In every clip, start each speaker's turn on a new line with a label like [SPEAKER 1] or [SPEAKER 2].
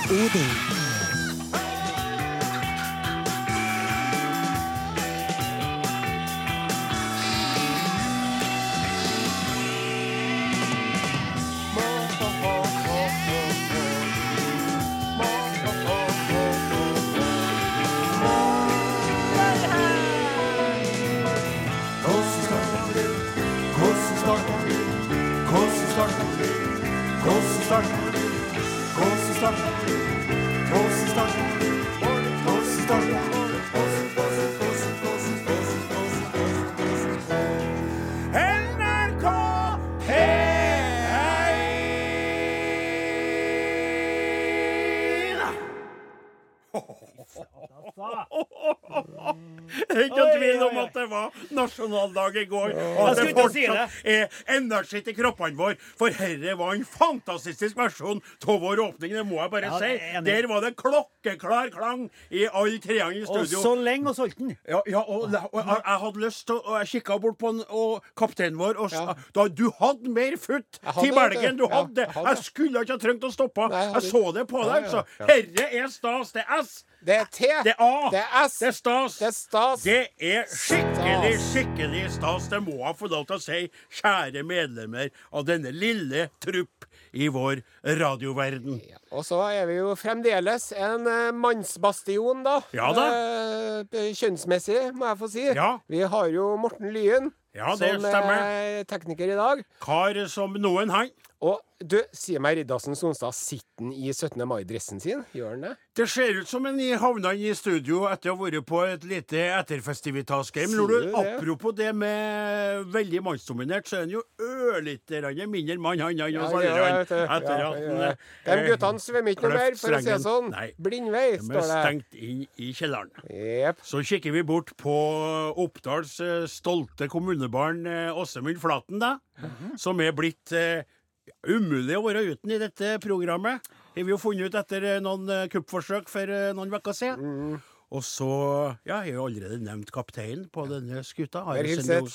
[SPEAKER 1] OED.
[SPEAKER 2] NRK P1! Ikke tvil om at det var nasjonaldag i går, og at det
[SPEAKER 3] Jeg skulle til å si
[SPEAKER 2] fortsatt er energi i kroppene våre. For herre var en fantastisk versjon av vår åpning, det må jeg bare
[SPEAKER 3] Ja,
[SPEAKER 2] si.
[SPEAKER 3] jeg er enig.
[SPEAKER 2] Der var det klokkeklar klang i alle treene i
[SPEAKER 3] Og
[SPEAKER 2] studio.
[SPEAKER 3] så lenge og solgte den.
[SPEAKER 2] Ja, ja og, og jeg, jeg hadde lyst til å- og Jeg kikka bort på han, og kapteinen vår og sa
[SPEAKER 4] Ja.
[SPEAKER 2] da, Du hadde mer futt
[SPEAKER 4] hadde
[SPEAKER 2] til
[SPEAKER 4] det,
[SPEAKER 2] Belgien! Du
[SPEAKER 4] ja,
[SPEAKER 2] hadde det!
[SPEAKER 4] jeg hadde
[SPEAKER 2] Jeg
[SPEAKER 4] det.
[SPEAKER 2] skulle ikke ha trengt å stoppe.
[SPEAKER 4] Nei, jeg
[SPEAKER 2] Jeg
[SPEAKER 4] hadde-
[SPEAKER 2] så det på deg,
[SPEAKER 4] Ja,
[SPEAKER 2] altså.
[SPEAKER 4] ja,
[SPEAKER 2] Herre er stas. Det er S.
[SPEAKER 4] Det er T.
[SPEAKER 2] Det er A.
[SPEAKER 4] Det er S.
[SPEAKER 2] Det er stas.
[SPEAKER 4] Det er stas.
[SPEAKER 2] Det er skikkelig, skikkelig stas. Det må jeg få lov til å si, kjære medlemmer av denne lille trupp i vår radioverden.
[SPEAKER 4] Og så er vi jo fremdeles en eh, mannsbastion, da.
[SPEAKER 2] Ja da.
[SPEAKER 4] Eh, kjønnsmessig, må jeg få si.
[SPEAKER 2] Ja.
[SPEAKER 4] Vi har jo Morten Lyen
[SPEAKER 2] Ja, det
[SPEAKER 4] som
[SPEAKER 2] stemmer.
[SPEAKER 4] er tekniker i dag.
[SPEAKER 2] Kar som noen, han.
[SPEAKER 4] Og du, sier meg Riddarsen Sonstad, sitter han i 17. mai-dressen sin? Gjør han det?
[SPEAKER 2] Det ser ut som en i- havna i studio etter å ha vært på et lite etterfestivitas-game.
[SPEAKER 4] Sier
[SPEAKER 2] Når
[SPEAKER 4] du
[SPEAKER 2] du-
[SPEAKER 4] det?
[SPEAKER 2] Apropos det med veldig mannsdominert, så er han jo ørlite grann mindre mann, han han
[SPEAKER 4] Ja,
[SPEAKER 2] og
[SPEAKER 4] ja, jeg vet
[SPEAKER 2] Sverre
[SPEAKER 4] det.
[SPEAKER 2] han, etter
[SPEAKER 4] Ja,
[SPEAKER 2] at
[SPEAKER 4] jeg
[SPEAKER 2] han
[SPEAKER 4] gjør det.
[SPEAKER 2] eh,
[SPEAKER 4] De guttene svømmer ikke noe mer, for å si det
[SPEAKER 2] Kløftstrengen.
[SPEAKER 4] sånn.
[SPEAKER 2] Nei.
[SPEAKER 4] Blindvei,
[SPEAKER 2] De er
[SPEAKER 4] står det.
[SPEAKER 2] stengt inn i kjelleren.
[SPEAKER 4] Jep.
[SPEAKER 2] Så kikker vi bort på Oppdals eh, stolte kommunebarn eh, Åsemund Flaten, da. Som er blitt eh, umulig å være uten i dette programmet. Det har vi jo funnet ut etter eh, noen eh, kuppforsøk for eh, noen uker siden. Og så Ja, jeg har jo allerede nevnt kapteinen på denne skuta, Arild
[SPEAKER 4] Hilseth.
[SPEAKER 2] Sende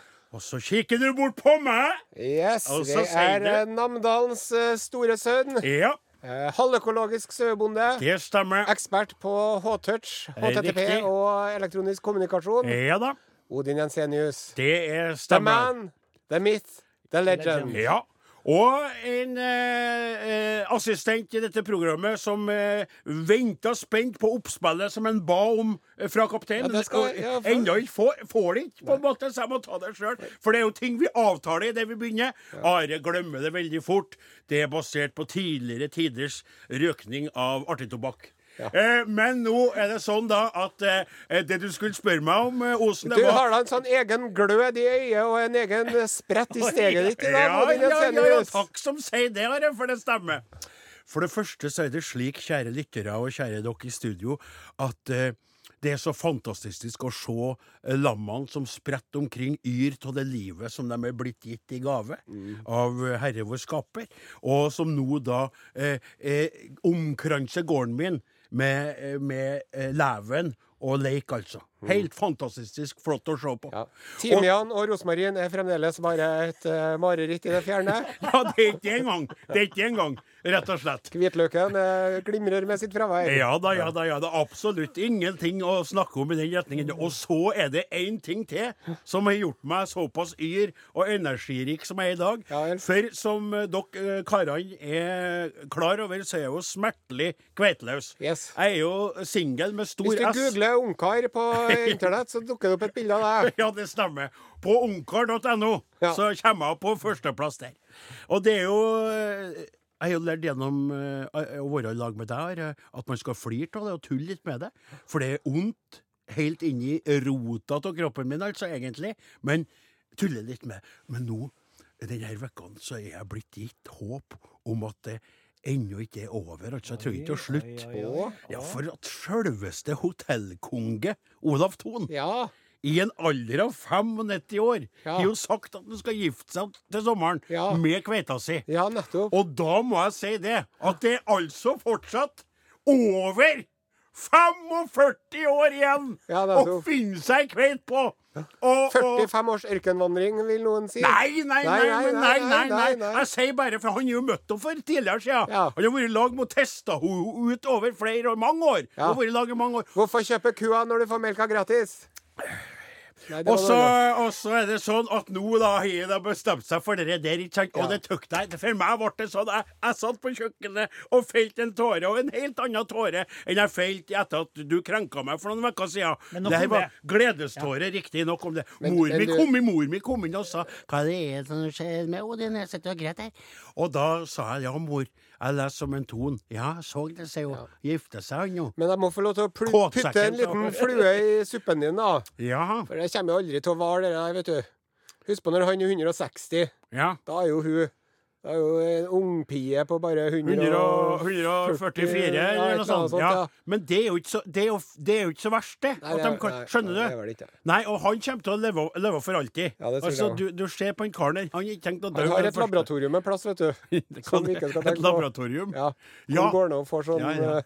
[SPEAKER 2] Olsen. Og så kikker du bort på meg!
[SPEAKER 4] Yes,
[SPEAKER 2] Og så
[SPEAKER 4] det
[SPEAKER 2] sier
[SPEAKER 4] er
[SPEAKER 2] du-
[SPEAKER 4] eh, Namdalens eh, store sønn.
[SPEAKER 2] Ja,
[SPEAKER 4] eh, Halvøkologisk sauebonde.
[SPEAKER 2] det stemmer.
[SPEAKER 4] Ekspert på H-touch,
[SPEAKER 2] Riktig.
[SPEAKER 4] HTTP og elektronisk kommunikasjon.
[SPEAKER 2] Ja da.
[SPEAKER 4] Odin Jensenius.
[SPEAKER 2] Det
[SPEAKER 4] The
[SPEAKER 2] er stemmer.
[SPEAKER 4] man, the myth, the legend.
[SPEAKER 2] Ja. Og en eh, eh, assistent i dette programmet som eh, venta spent på oppspillet som han ba om eh, fra kapteinen.
[SPEAKER 4] Ja, det skal- ja, for-
[SPEAKER 2] Enda ikke får, får det ikke, på en måte, så jeg må ta det sjøl. For det er jo ting vi avtaler idet vi begynner. Are glemmer det veldig fort. Det er basert på tidligere tiders røkning av artig tobakk. Eh, men nå er det sånn da at eh, det du skulle spørre meg om, eh, Osen
[SPEAKER 4] Du har da en sånn egen glød i øyet og en egen sprett i steget ditt i dag.
[SPEAKER 2] Ja,
[SPEAKER 4] Odin
[SPEAKER 2] ja, ja, ja,
[SPEAKER 4] Jensenius.
[SPEAKER 2] takk som sier det, Are, for det stemmer. For det første så er det slik, kjære lyttere og kjære dere i studio, at eh, det er så fantastisk å se eh, lammene som spretter omkring yr av det livet som de er blitt gitt i gave av eh, Herre vår Skaper, og som nå da eh, eh, omkranser gården min med, eh, med eh, leven og leik, altså. Helt fantastisk flott å se på.
[SPEAKER 4] Ja. Timian og rosmarin er fremdeles bare et eh, mareritt i det fjerne.
[SPEAKER 2] Ja, det er ikke det engang. Det er ikke det engang, rett og slett.
[SPEAKER 4] Hvitløken eh, glimrer med sitt fravær.
[SPEAKER 2] Ja da, ja da, ja da. Absolutt ingenting å snakke om i den retningen. Og så er det én ting til som har gjort meg såpass yr og energirik som jeg er i dag.
[SPEAKER 4] Ja vel.
[SPEAKER 2] For som eh, dere eh, karene er klar over, så er jeg jo smertelig kveiteløs.
[SPEAKER 4] Yes.
[SPEAKER 2] Jeg er jo singel med stor
[SPEAKER 4] Hvis du
[SPEAKER 2] S.
[SPEAKER 4] googler ungkar på internett, så dukker det opp et bilde av deg.
[SPEAKER 2] Ja, det stemmer. På ungkar.no
[SPEAKER 4] Ja.
[SPEAKER 2] så kommer jeg på førsteplass der. Og det er jo eh, Jeg har jo lært gjennom eh, å være i lag med deg her, eh, at man skal flire av det og tulle litt med det. For det er ondt helt inni rota av kroppen min, altså, egentlig. Men tulle litt med. Men nå, denne uka, så er jeg blitt gitt håp om at det ennå ikke er over. Altså, jeg tror ikke det er slutt. Ja, for at sjølveste hotellkonge Olav Thon
[SPEAKER 4] Ja.
[SPEAKER 2] i en alder av 95 år
[SPEAKER 4] Ja.
[SPEAKER 2] har jo sagt at han skal gifte seg til sommeren
[SPEAKER 4] Ja.
[SPEAKER 2] med kveita si.
[SPEAKER 4] ja, nettopp.
[SPEAKER 2] Og da må jeg si det, at det er altså fortsatt over 45 år igjen
[SPEAKER 4] Ja, det er
[SPEAKER 2] å
[SPEAKER 4] så-
[SPEAKER 2] finne seg ei kveit på! Og, og
[SPEAKER 4] 45 års ørkenvandring, vil noen si.
[SPEAKER 2] Nei, nei, nei, nei, nei, nei, nei,
[SPEAKER 4] nei.
[SPEAKER 2] Jeg sier bare, for han er jo møtt henne for tidligere siden.
[SPEAKER 4] Ja.
[SPEAKER 2] Han har vært i lag med testa henne ut over flere år, mange år.
[SPEAKER 4] Ja.
[SPEAKER 2] Hun har vært i lag i mange år.
[SPEAKER 4] Hvorfor kjøpe kua når du får melka gratis? Nei, det var
[SPEAKER 2] Og så,
[SPEAKER 4] noe annet.
[SPEAKER 2] og så er det sånn at nå da har jeg da bestemt seg for det der, ikke sant?
[SPEAKER 4] Ja.
[SPEAKER 2] Og det tøkk deg. For meg ble det sånn. Jeg, jeg satt på kjøkkenet og felte en tåre, og en helt annen tåre enn jeg felte etter at du krenka meg for noen uker siden.
[SPEAKER 1] Men nok
[SPEAKER 2] Det
[SPEAKER 1] om
[SPEAKER 2] her var
[SPEAKER 1] det.
[SPEAKER 2] gledestårer, riktig nok om det.
[SPEAKER 4] Men-
[SPEAKER 2] mor
[SPEAKER 4] men
[SPEAKER 2] mi
[SPEAKER 4] du-
[SPEAKER 2] kom inn, mor mi kom inn og sa 'Hva det er som skjer med Odin? Jeg sitter og gråter.' Og da sa jeg 'Ja, mor, jeg leser som en ton'. Ja, jeg så det, sier hun. Gifte seg han nå.
[SPEAKER 4] Men jeg må få lov til å pl
[SPEAKER 2] Kåtsekken,
[SPEAKER 4] putte en liten
[SPEAKER 2] så.
[SPEAKER 4] flue i suppen din, da.
[SPEAKER 2] Ja.
[SPEAKER 4] For det kommer jo aldri til å vare, det der, vet du. Husk på når han er 160.
[SPEAKER 2] ja.
[SPEAKER 4] Da er jo hun da er jo en ungpie på bare 100 og-
[SPEAKER 2] 144
[SPEAKER 4] Ja,
[SPEAKER 2] eller
[SPEAKER 4] et
[SPEAKER 2] noe sånt.
[SPEAKER 4] ja.
[SPEAKER 2] Ja. Men det er jo ikke så, det er jo, det er jo ikke så verst, det.
[SPEAKER 4] Nei,
[SPEAKER 2] At
[SPEAKER 4] det er-
[SPEAKER 2] de kan,
[SPEAKER 4] nei,
[SPEAKER 2] skjønner
[SPEAKER 4] nei, det
[SPEAKER 2] du?
[SPEAKER 4] er vel ikke.
[SPEAKER 2] Nei, og han kommer til å leve, leve for alltid.
[SPEAKER 4] Ja, det tror
[SPEAKER 2] altså, du,
[SPEAKER 4] jeg
[SPEAKER 2] du ser på han karen der, han har ikke tenkt å dø.
[SPEAKER 4] Han har
[SPEAKER 2] ved
[SPEAKER 4] et
[SPEAKER 2] første.
[SPEAKER 4] laboratorium med plass, vet du.
[SPEAKER 2] Det
[SPEAKER 4] som
[SPEAKER 2] kan,
[SPEAKER 4] vi ikke skal
[SPEAKER 2] et
[SPEAKER 4] tenke på.
[SPEAKER 2] laboratorium.
[SPEAKER 4] Ja.
[SPEAKER 2] Ja.
[SPEAKER 4] Hun går nå og får sånn
[SPEAKER 2] Ja, ja.
[SPEAKER 4] eh,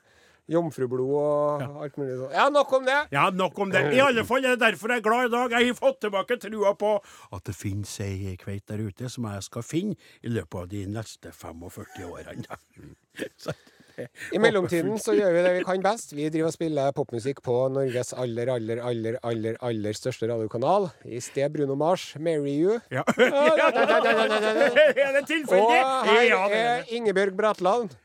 [SPEAKER 4] jomfrublod og alt mulig sånn. Ja, nok om det!
[SPEAKER 2] Ja, nok om det. I alle fall er det derfor jeg er glad i dag. Jeg har fått tilbake trua på at det finnes ei kveit der ute som jeg skal finne i løpet av de neste 45 årene. Så det-
[SPEAKER 4] I mellomtiden så gjør vi det vi kan best. Vi driver og spiller popmusikk på Norges aller, aller, aller, aller aller største radiokanal. I sted Bruno Mars, 'Marry You'.
[SPEAKER 2] Ja.
[SPEAKER 4] Er
[SPEAKER 2] Er det tilfeldig?
[SPEAKER 4] Og
[SPEAKER 2] Ja,
[SPEAKER 4] her
[SPEAKER 2] det er
[SPEAKER 4] er
[SPEAKER 2] det.
[SPEAKER 4] Ingebjørg Bratland.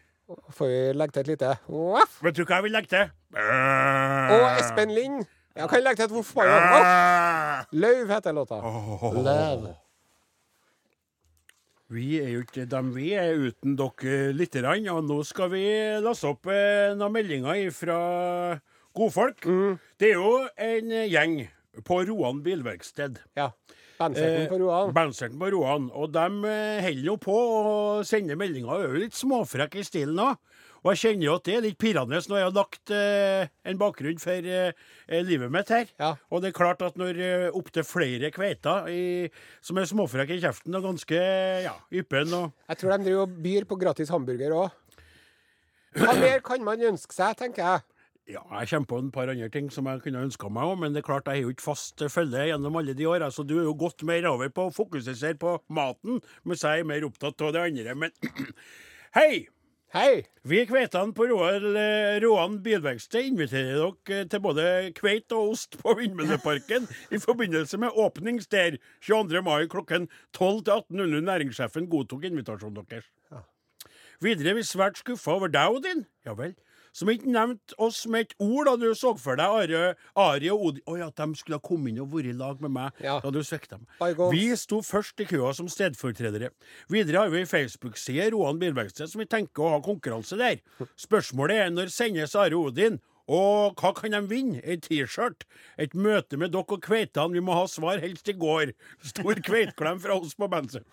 [SPEAKER 4] Får vi legge til et lite voff?
[SPEAKER 2] Vet du hva jeg vil legge til?
[SPEAKER 4] Og
[SPEAKER 2] Ah.
[SPEAKER 4] Espen Lind. Ja, kan jeg legge til et voff? bare? Voff. Løv heter låta. Løv.
[SPEAKER 2] Vi er jo ikke dem vi er uten dere lite grann, og nå skal vi lasse opp eh, noen meldinger fra godfolk.
[SPEAKER 4] Mm.
[SPEAKER 2] Det er jo en gjeng på Roan bilverksted.
[SPEAKER 4] Ja. Bandsekken på
[SPEAKER 2] Eh,
[SPEAKER 4] Roan.
[SPEAKER 2] Bandsekken på Roan. Og de eh, holder jo på å sende meldinger. Er jo litt småfrekk i stilen òg. Og jeg kjenner jo at det er litt pirrende når jeg har lagt eh, en bakgrunn for eh, eh, livet mitt her.
[SPEAKER 4] Ja.
[SPEAKER 2] Og det er klart at når eh, opptil flere kveiter i, som er småfrekke i kjeften og ganske ja, yppen og
[SPEAKER 4] Jeg tror de driver og byr på gratis hamburger òg. Hva mer kan man ønske seg, tenker jeg.
[SPEAKER 2] Ja, jeg kommer på en par andre ting som jeg kunne ønska meg òg, men det er klart jeg har jo ikke fast følge gjennom alle de åra, så du er jo gått mer over på å fokusere på maten, mens jeg er mer opptatt av det andre. Men hei!
[SPEAKER 4] Hei!
[SPEAKER 2] Vi kveitene på Roal, eh, Roan bilverksted inviterer dere eh, til både kveit og ost på Vindmølleparken i forbindelse med åpningsder 22. mai klokken 12 til 18.00. Næringssjefen godtok invitasjonen deres. Videre er vi svært skuffa over deg, Odin. Ja vel. Som ikke nevnte oss med et ord da du så for deg Are, Ari og Odin Å ja, at de skulle ha kommet inn og vært i lag med meg.
[SPEAKER 4] Ja.
[SPEAKER 2] Da hadde du svikta dem.
[SPEAKER 4] Bygones.
[SPEAKER 2] Vi sto først i køa som stedfortredere. Videre har vi ei Facebook-side, Roan Bilverksted, som vi tenker å ha konkurranse der. Spørsmålet er når sendes Are Odin? Og hva kan de vinne? Ei T-skjørt? Et møte med dere og kveitene? Vi må ha svar, helst i går. Stor kveitklem fra oss på Bensen.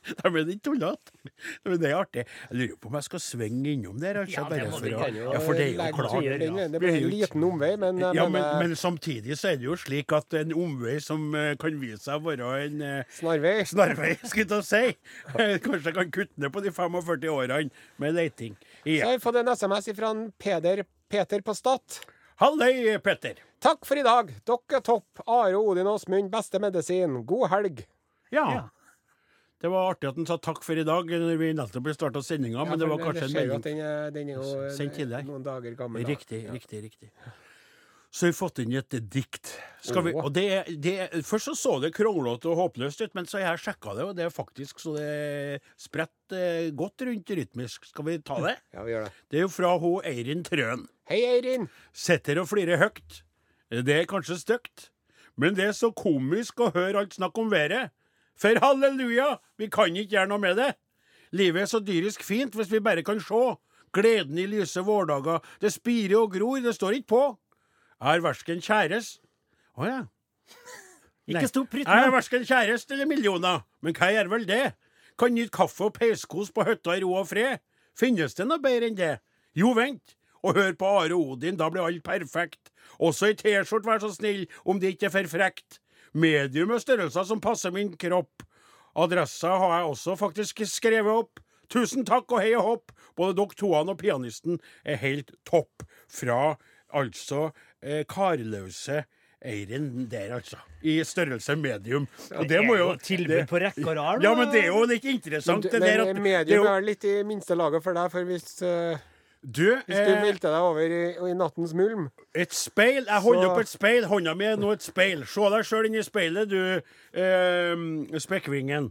[SPEAKER 2] De er litt tullete. Men det er artig. Jeg lurer på om jeg skal svinge innom der. Altså,
[SPEAKER 1] Ja, det
[SPEAKER 2] bare
[SPEAKER 1] må
[SPEAKER 2] for
[SPEAKER 1] du
[SPEAKER 2] å-
[SPEAKER 1] kan jo
[SPEAKER 2] ja, for det er jo
[SPEAKER 4] Legg
[SPEAKER 2] klart.
[SPEAKER 4] sier den,
[SPEAKER 2] ja.
[SPEAKER 4] Det
[SPEAKER 2] Vi
[SPEAKER 4] blir
[SPEAKER 2] er jo
[SPEAKER 4] en
[SPEAKER 2] ikke-
[SPEAKER 4] liten omvei, men eh, jeg
[SPEAKER 2] ja, men, eh,
[SPEAKER 4] mener
[SPEAKER 2] men samtidig så er det jo slik at en omvei som eh, kan vise seg å være en eh,
[SPEAKER 4] snarvei.
[SPEAKER 2] snarvei, skulle jeg til å si. Eh, Kanskje jeg kan kutte ned på de 45 årene med leiting.
[SPEAKER 4] Så
[SPEAKER 2] Ja.
[SPEAKER 4] har vi fått en SMS fra en Peder, Peter på Stad.
[SPEAKER 2] Halløy, Petter.
[SPEAKER 4] Takk for i dag. Dere er topp. Are Odin Åsmund, beste medisin. God helg.
[SPEAKER 2] Ja.
[SPEAKER 1] Ja.
[SPEAKER 2] Det var artig at han sa takk for i dag når vi nettopp starta sendinga, men det var kanskje en melding
[SPEAKER 4] Den er, den er jo eh,
[SPEAKER 2] Send tidligere.
[SPEAKER 4] noen dager gammel. da.
[SPEAKER 2] Riktig, riktig, riktig. Så har vi fått inn et dikt. Skal vi,
[SPEAKER 4] Åh.
[SPEAKER 2] og det, er- det, er- først så, så det kronglete og håpløst ut, men så har jeg sjekka det, og det er faktisk så det er spredt eh, godt rundt rytmisk. Skal vi ta det?
[SPEAKER 4] Ja, vi gjør det.
[SPEAKER 2] Det er jo fra hun Eirin Trøen.
[SPEAKER 4] Hei, Eirin.
[SPEAKER 2] Sitter og flirer høyt. Det er kanskje stygt, men det er så komisk å høre alt snakk om været. For halleluja, vi kan ikke gjøre noe med det. Livet er så dyrisk fint hvis vi bare kan se. Gleden i lyse vårdager. Det spirer og gror, det står ikke på. Jeg har versken kjæreste Å ja. Nei.
[SPEAKER 1] Ikke stor prytt
[SPEAKER 2] Jeg har
[SPEAKER 1] nå.
[SPEAKER 2] versken kjæreste eller millioner, men hva gjør vel det? Kan nyte kaffe og peiskos på hytta i ro og fred? Finnes det noe bedre enn det? Jo, vent, og hør på Are Odin, da blir alt perfekt. Også i T-skjorte, vær så snill, om det ikke er for frekt. Medium og størrelser som passer min kropp. Adressa har jeg også faktisk skrevet opp. Tusen takk og hei og hopp! Både dere toene og pianisten er helt topp. Fra altså eh, karløse Eiren der, altså. I størrelse medium. Og det må jo
[SPEAKER 1] Tilbud på rekke og rad.
[SPEAKER 2] Ja, men det er jo litt interessant, det der at
[SPEAKER 4] Men
[SPEAKER 2] det er
[SPEAKER 4] medium
[SPEAKER 2] jo-
[SPEAKER 4] er litt i minste laget for deg, for hvis, eh,
[SPEAKER 2] Du,
[SPEAKER 4] hvis du
[SPEAKER 2] eh,
[SPEAKER 4] velter deg over i, i nattens mulm
[SPEAKER 2] et speil. Jeg holder
[SPEAKER 4] Så-
[SPEAKER 2] opp et speil. Hånda mi er nå et speil. Se deg sjøl inn i speilet, du eh, spekkvingen.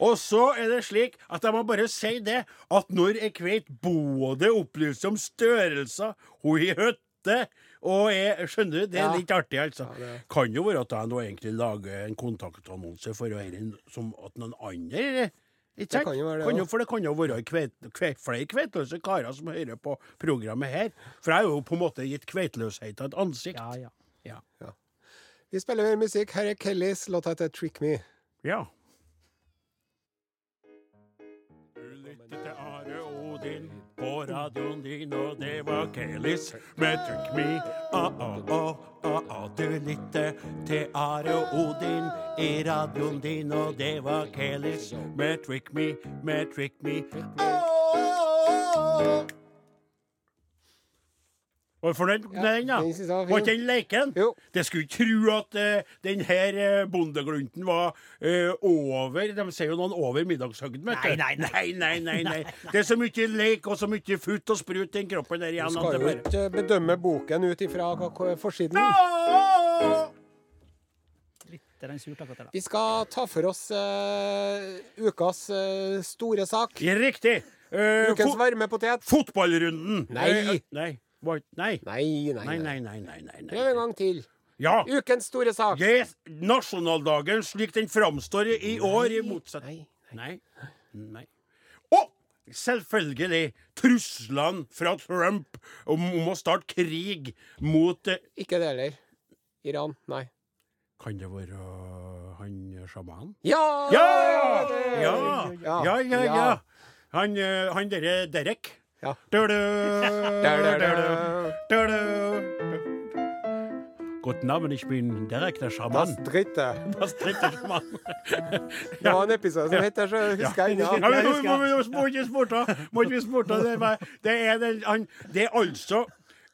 [SPEAKER 2] Og så er det slik at jeg må bare si det, at når ei kveit både opplyser om størrelser, hun i høtte og er, Skjønner du? Det er
[SPEAKER 4] Ja.
[SPEAKER 2] litt artig, altså.
[SPEAKER 4] Ja, det-
[SPEAKER 2] Kan jo være at jeg nå egentlig lager en kontaktannonse for Eirin som at noen andre ikke sant?
[SPEAKER 4] kan jo være det,
[SPEAKER 2] Kan jo,
[SPEAKER 4] ja.
[SPEAKER 2] for det kan jo være kveit, kve- flere kveitløse karer som hører på programmet her. For jeg har jo på en måte gitt kveitløsheten et ansikt.
[SPEAKER 1] Ja, ja.
[SPEAKER 4] Vi spiller mer musikk. Her er Kellys låt heter 'Trick Me'.
[SPEAKER 2] Ja. Du lytter til Are Odin på radioen din, og det var Kelis med Trick Me. Ah, ah, ah, ah, ah. Du lytter til Are Odin i radioen din, og det var Kelis med Trick Me, med Trick Me. Ah. Var du fornøyd med den, da?
[SPEAKER 4] den synes jeg var fin.
[SPEAKER 2] Var ikke den leken?
[SPEAKER 4] Jo.
[SPEAKER 2] Det skulle ikke tro at eh, den her eh, bondeglunten var eh, over De sier jo noen over middagshøgden, vet du.
[SPEAKER 1] Nei, nei,
[SPEAKER 2] nei, nei, nei, nei. Det er så mye leik og så mye futt og sprut i den kroppen
[SPEAKER 4] Du
[SPEAKER 2] der igjen. at
[SPEAKER 4] skal jo
[SPEAKER 2] det bare-
[SPEAKER 4] ikke bedømme boken ut ifra hva- hva- forsiden.
[SPEAKER 1] Litt er den surt akkurat der, da.
[SPEAKER 4] Vi skal ta for oss eh, ukas eh, store sak.
[SPEAKER 2] Riktig. Eh,
[SPEAKER 4] Ukens
[SPEAKER 2] fo-
[SPEAKER 4] varmepotet.
[SPEAKER 2] fotballrunden.
[SPEAKER 4] Nei.
[SPEAKER 2] Eh, nei. Var- Nei.
[SPEAKER 4] Nei, nei,
[SPEAKER 2] Nei,
[SPEAKER 4] nei.
[SPEAKER 2] nei, nei, nei, nei,
[SPEAKER 4] Prøv
[SPEAKER 2] nei.
[SPEAKER 4] en gang til.
[SPEAKER 2] Ja.
[SPEAKER 4] Ukens store sak.
[SPEAKER 2] Yes. Nasjonaldagen slik den framstår i år, i motsetning
[SPEAKER 4] Nei.
[SPEAKER 2] Nei. Nei. Og selvfølgelig truslene fra Trump om, om å starte krig mot eh,
[SPEAKER 4] Ikke det heller. Iran. Nei.
[SPEAKER 2] Kan det være han eh, sjamanen?
[SPEAKER 4] Ja!
[SPEAKER 2] Ja!
[SPEAKER 4] Det-
[SPEAKER 2] Ja, ja, ja. ja.
[SPEAKER 4] Ja.
[SPEAKER 2] Han, eh, han derre Derek.
[SPEAKER 4] Ja.
[SPEAKER 2] Du-du,
[SPEAKER 4] Der, der,
[SPEAKER 2] du-du,
[SPEAKER 4] der.
[SPEAKER 2] du-du. Godt navn, ich bin Derek, der
[SPEAKER 4] Das
[SPEAKER 2] sjaman.
[SPEAKER 4] dritte.
[SPEAKER 2] Das dritte sjaman.
[SPEAKER 4] Det var en episode som het det, så husker jeg
[SPEAKER 2] Ja,
[SPEAKER 4] ennå.
[SPEAKER 2] men må- må- må- må ikke sporta. Må ikke sporta. Det er, bare- det er, den, han, det er altså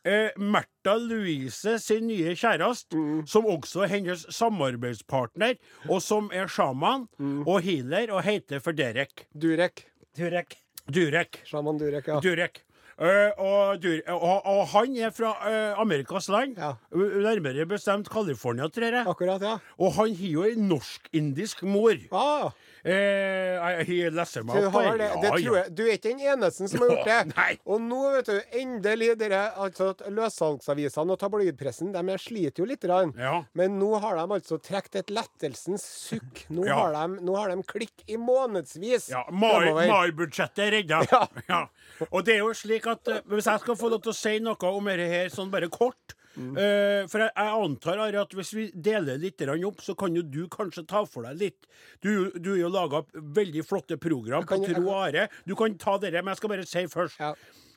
[SPEAKER 2] eh, Märtha Louise sin nye kjæreste,
[SPEAKER 4] Mm.
[SPEAKER 2] som også er hennes samarbeidspartner, og som er sjaman
[SPEAKER 4] Mm.
[SPEAKER 2] og healer og heter for Derek.
[SPEAKER 4] Durek.
[SPEAKER 1] Turek.
[SPEAKER 2] Durek.
[SPEAKER 4] Sjaman Durek, ja.
[SPEAKER 2] Durek. Eh, og, Dur og, og han er fra eh, Amerikas land,
[SPEAKER 4] Ja.
[SPEAKER 2] U- nærmere bestemt California, tror jeg.
[SPEAKER 4] Akkurat, ja.
[SPEAKER 2] Og han har jo ei norsk-indisk mor.
[SPEAKER 4] Ah,
[SPEAKER 2] Eh, jeg, jeg leser
[SPEAKER 4] du,
[SPEAKER 2] meg opp
[SPEAKER 4] har
[SPEAKER 2] her.
[SPEAKER 4] det,
[SPEAKER 2] Ja,
[SPEAKER 4] det
[SPEAKER 2] ja.
[SPEAKER 4] tror jeg. du er ikke den eneste som har gjort det.
[SPEAKER 2] Nei.
[SPEAKER 4] Og nå, vet du, endelig dere, altså at Løssalgsavisene og tabloidpressen de er- sliter jo litt. grann.
[SPEAKER 2] Ja.
[SPEAKER 4] Men nå har de altså trukket et lettelsens sukk. Nå,
[SPEAKER 2] Ja.
[SPEAKER 4] har, de, nå har de klikk i månedsvis
[SPEAKER 2] Ja,
[SPEAKER 4] fremover.
[SPEAKER 2] Mar-budsjettet er redda. Ja.
[SPEAKER 4] Ja.
[SPEAKER 2] Og det er jo slik at eh, Hvis jeg skal få lov til å si noe om dette her sånn bare kort
[SPEAKER 4] Mm.
[SPEAKER 2] eh, For jeg, jeg antar Ari, at hvis vi deler litt grann opp, så kan jo du kanskje ta for deg litt. Du, du har jo laga veldig flotte program
[SPEAKER 4] kan jo-
[SPEAKER 2] på
[SPEAKER 4] jeg
[SPEAKER 2] Tro og Are. Du kan ta dette, men jeg skal bare si først
[SPEAKER 4] Ja.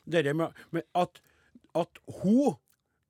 [SPEAKER 2] dette med, med at, at hun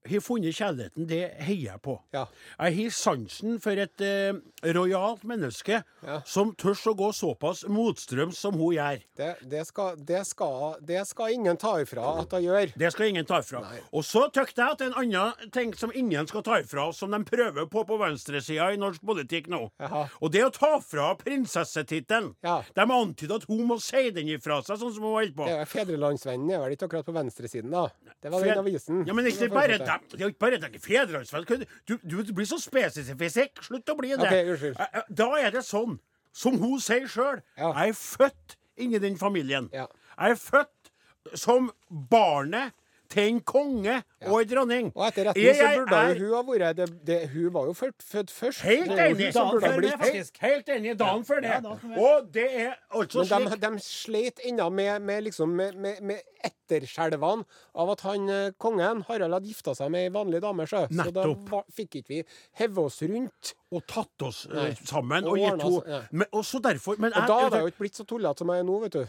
[SPEAKER 2] har funnet kjærligheten, det heier jeg på.
[SPEAKER 4] Ja.
[SPEAKER 2] Jeg har sansen for et eh, rojalt menneske
[SPEAKER 4] Ja.
[SPEAKER 2] som tør å gå såpass motstrøms som hun gjør.
[SPEAKER 4] Det, det, skal, det, skal, det skal ingen ta ifra at hun gjør.
[SPEAKER 2] Det skal ingen ta ifra. Og så tykte jeg at en annen ting som ingen skal ta ifra, som de prøver på på venstresida i norsk politikk nå,
[SPEAKER 4] Jaha.
[SPEAKER 2] og det er å ta fra prinsessetittelen.
[SPEAKER 4] Ja.
[SPEAKER 2] De antyder at hun må si den ifra seg, sånn som hun holdt på.
[SPEAKER 4] Det er Fedrelandsvennen er vel ikke akkurat på venstresiden, da? Det var
[SPEAKER 2] Fred-
[SPEAKER 4] den avisen.
[SPEAKER 2] Ja, men ikke
[SPEAKER 4] Det var
[SPEAKER 2] bare
[SPEAKER 4] fortsatt.
[SPEAKER 2] dem. Det er jo ikke bare dem. Fedrelandsvenn. Du, du, du blir så spesifikk. Slutt å bli det.
[SPEAKER 4] Ok, unnskyld.
[SPEAKER 2] Eh, eh, Da er det sånn, som hun sier sjøl,
[SPEAKER 4] Ja.
[SPEAKER 2] jeg er født inni den familien.
[SPEAKER 4] Ja.
[SPEAKER 2] Jeg er født som barnet til en konge og en dronning.
[SPEAKER 4] Og etter retten
[SPEAKER 2] Jeg-
[SPEAKER 4] så
[SPEAKER 2] jeg
[SPEAKER 4] burde
[SPEAKER 2] er-
[SPEAKER 4] jo hun ha vært det, det, Hun var jo født, født først.
[SPEAKER 2] Helt
[SPEAKER 4] Det er jo
[SPEAKER 2] enig!
[SPEAKER 4] hun som
[SPEAKER 1] dagen
[SPEAKER 4] burde ha
[SPEAKER 1] før det,
[SPEAKER 4] blitt.
[SPEAKER 1] faktisk.
[SPEAKER 2] Helt, helt enig. Dagen før det.
[SPEAKER 1] Ja, dagen før det.
[SPEAKER 2] og det er altså
[SPEAKER 4] Men
[SPEAKER 2] slik
[SPEAKER 4] de, de sleit ennå med, med, liksom, med, med, med etterskjelvene av at han eh, kongen, Harald, hadde gifta seg med ei vanlig dame, sjø. Så da
[SPEAKER 2] Nettopp.
[SPEAKER 4] var, fikk ikke vi heve oss rundt.
[SPEAKER 2] Og tatt oss eh,
[SPEAKER 4] Nei.
[SPEAKER 2] sammen
[SPEAKER 4] Og
[SPEAKER 2] og gitt
[SPEAKER 4] ordnet oss,
[SPEAKER 2] henne
[SPEAKER 4] ja.
[SPEAKER 2] Men også derfor men
[SPEAKER 4] Og
[SPEAKER 2] jeg-
[SPEAKER 4] da hadde jeg jo ikke blitt så tullete som jeg er nå, vet du.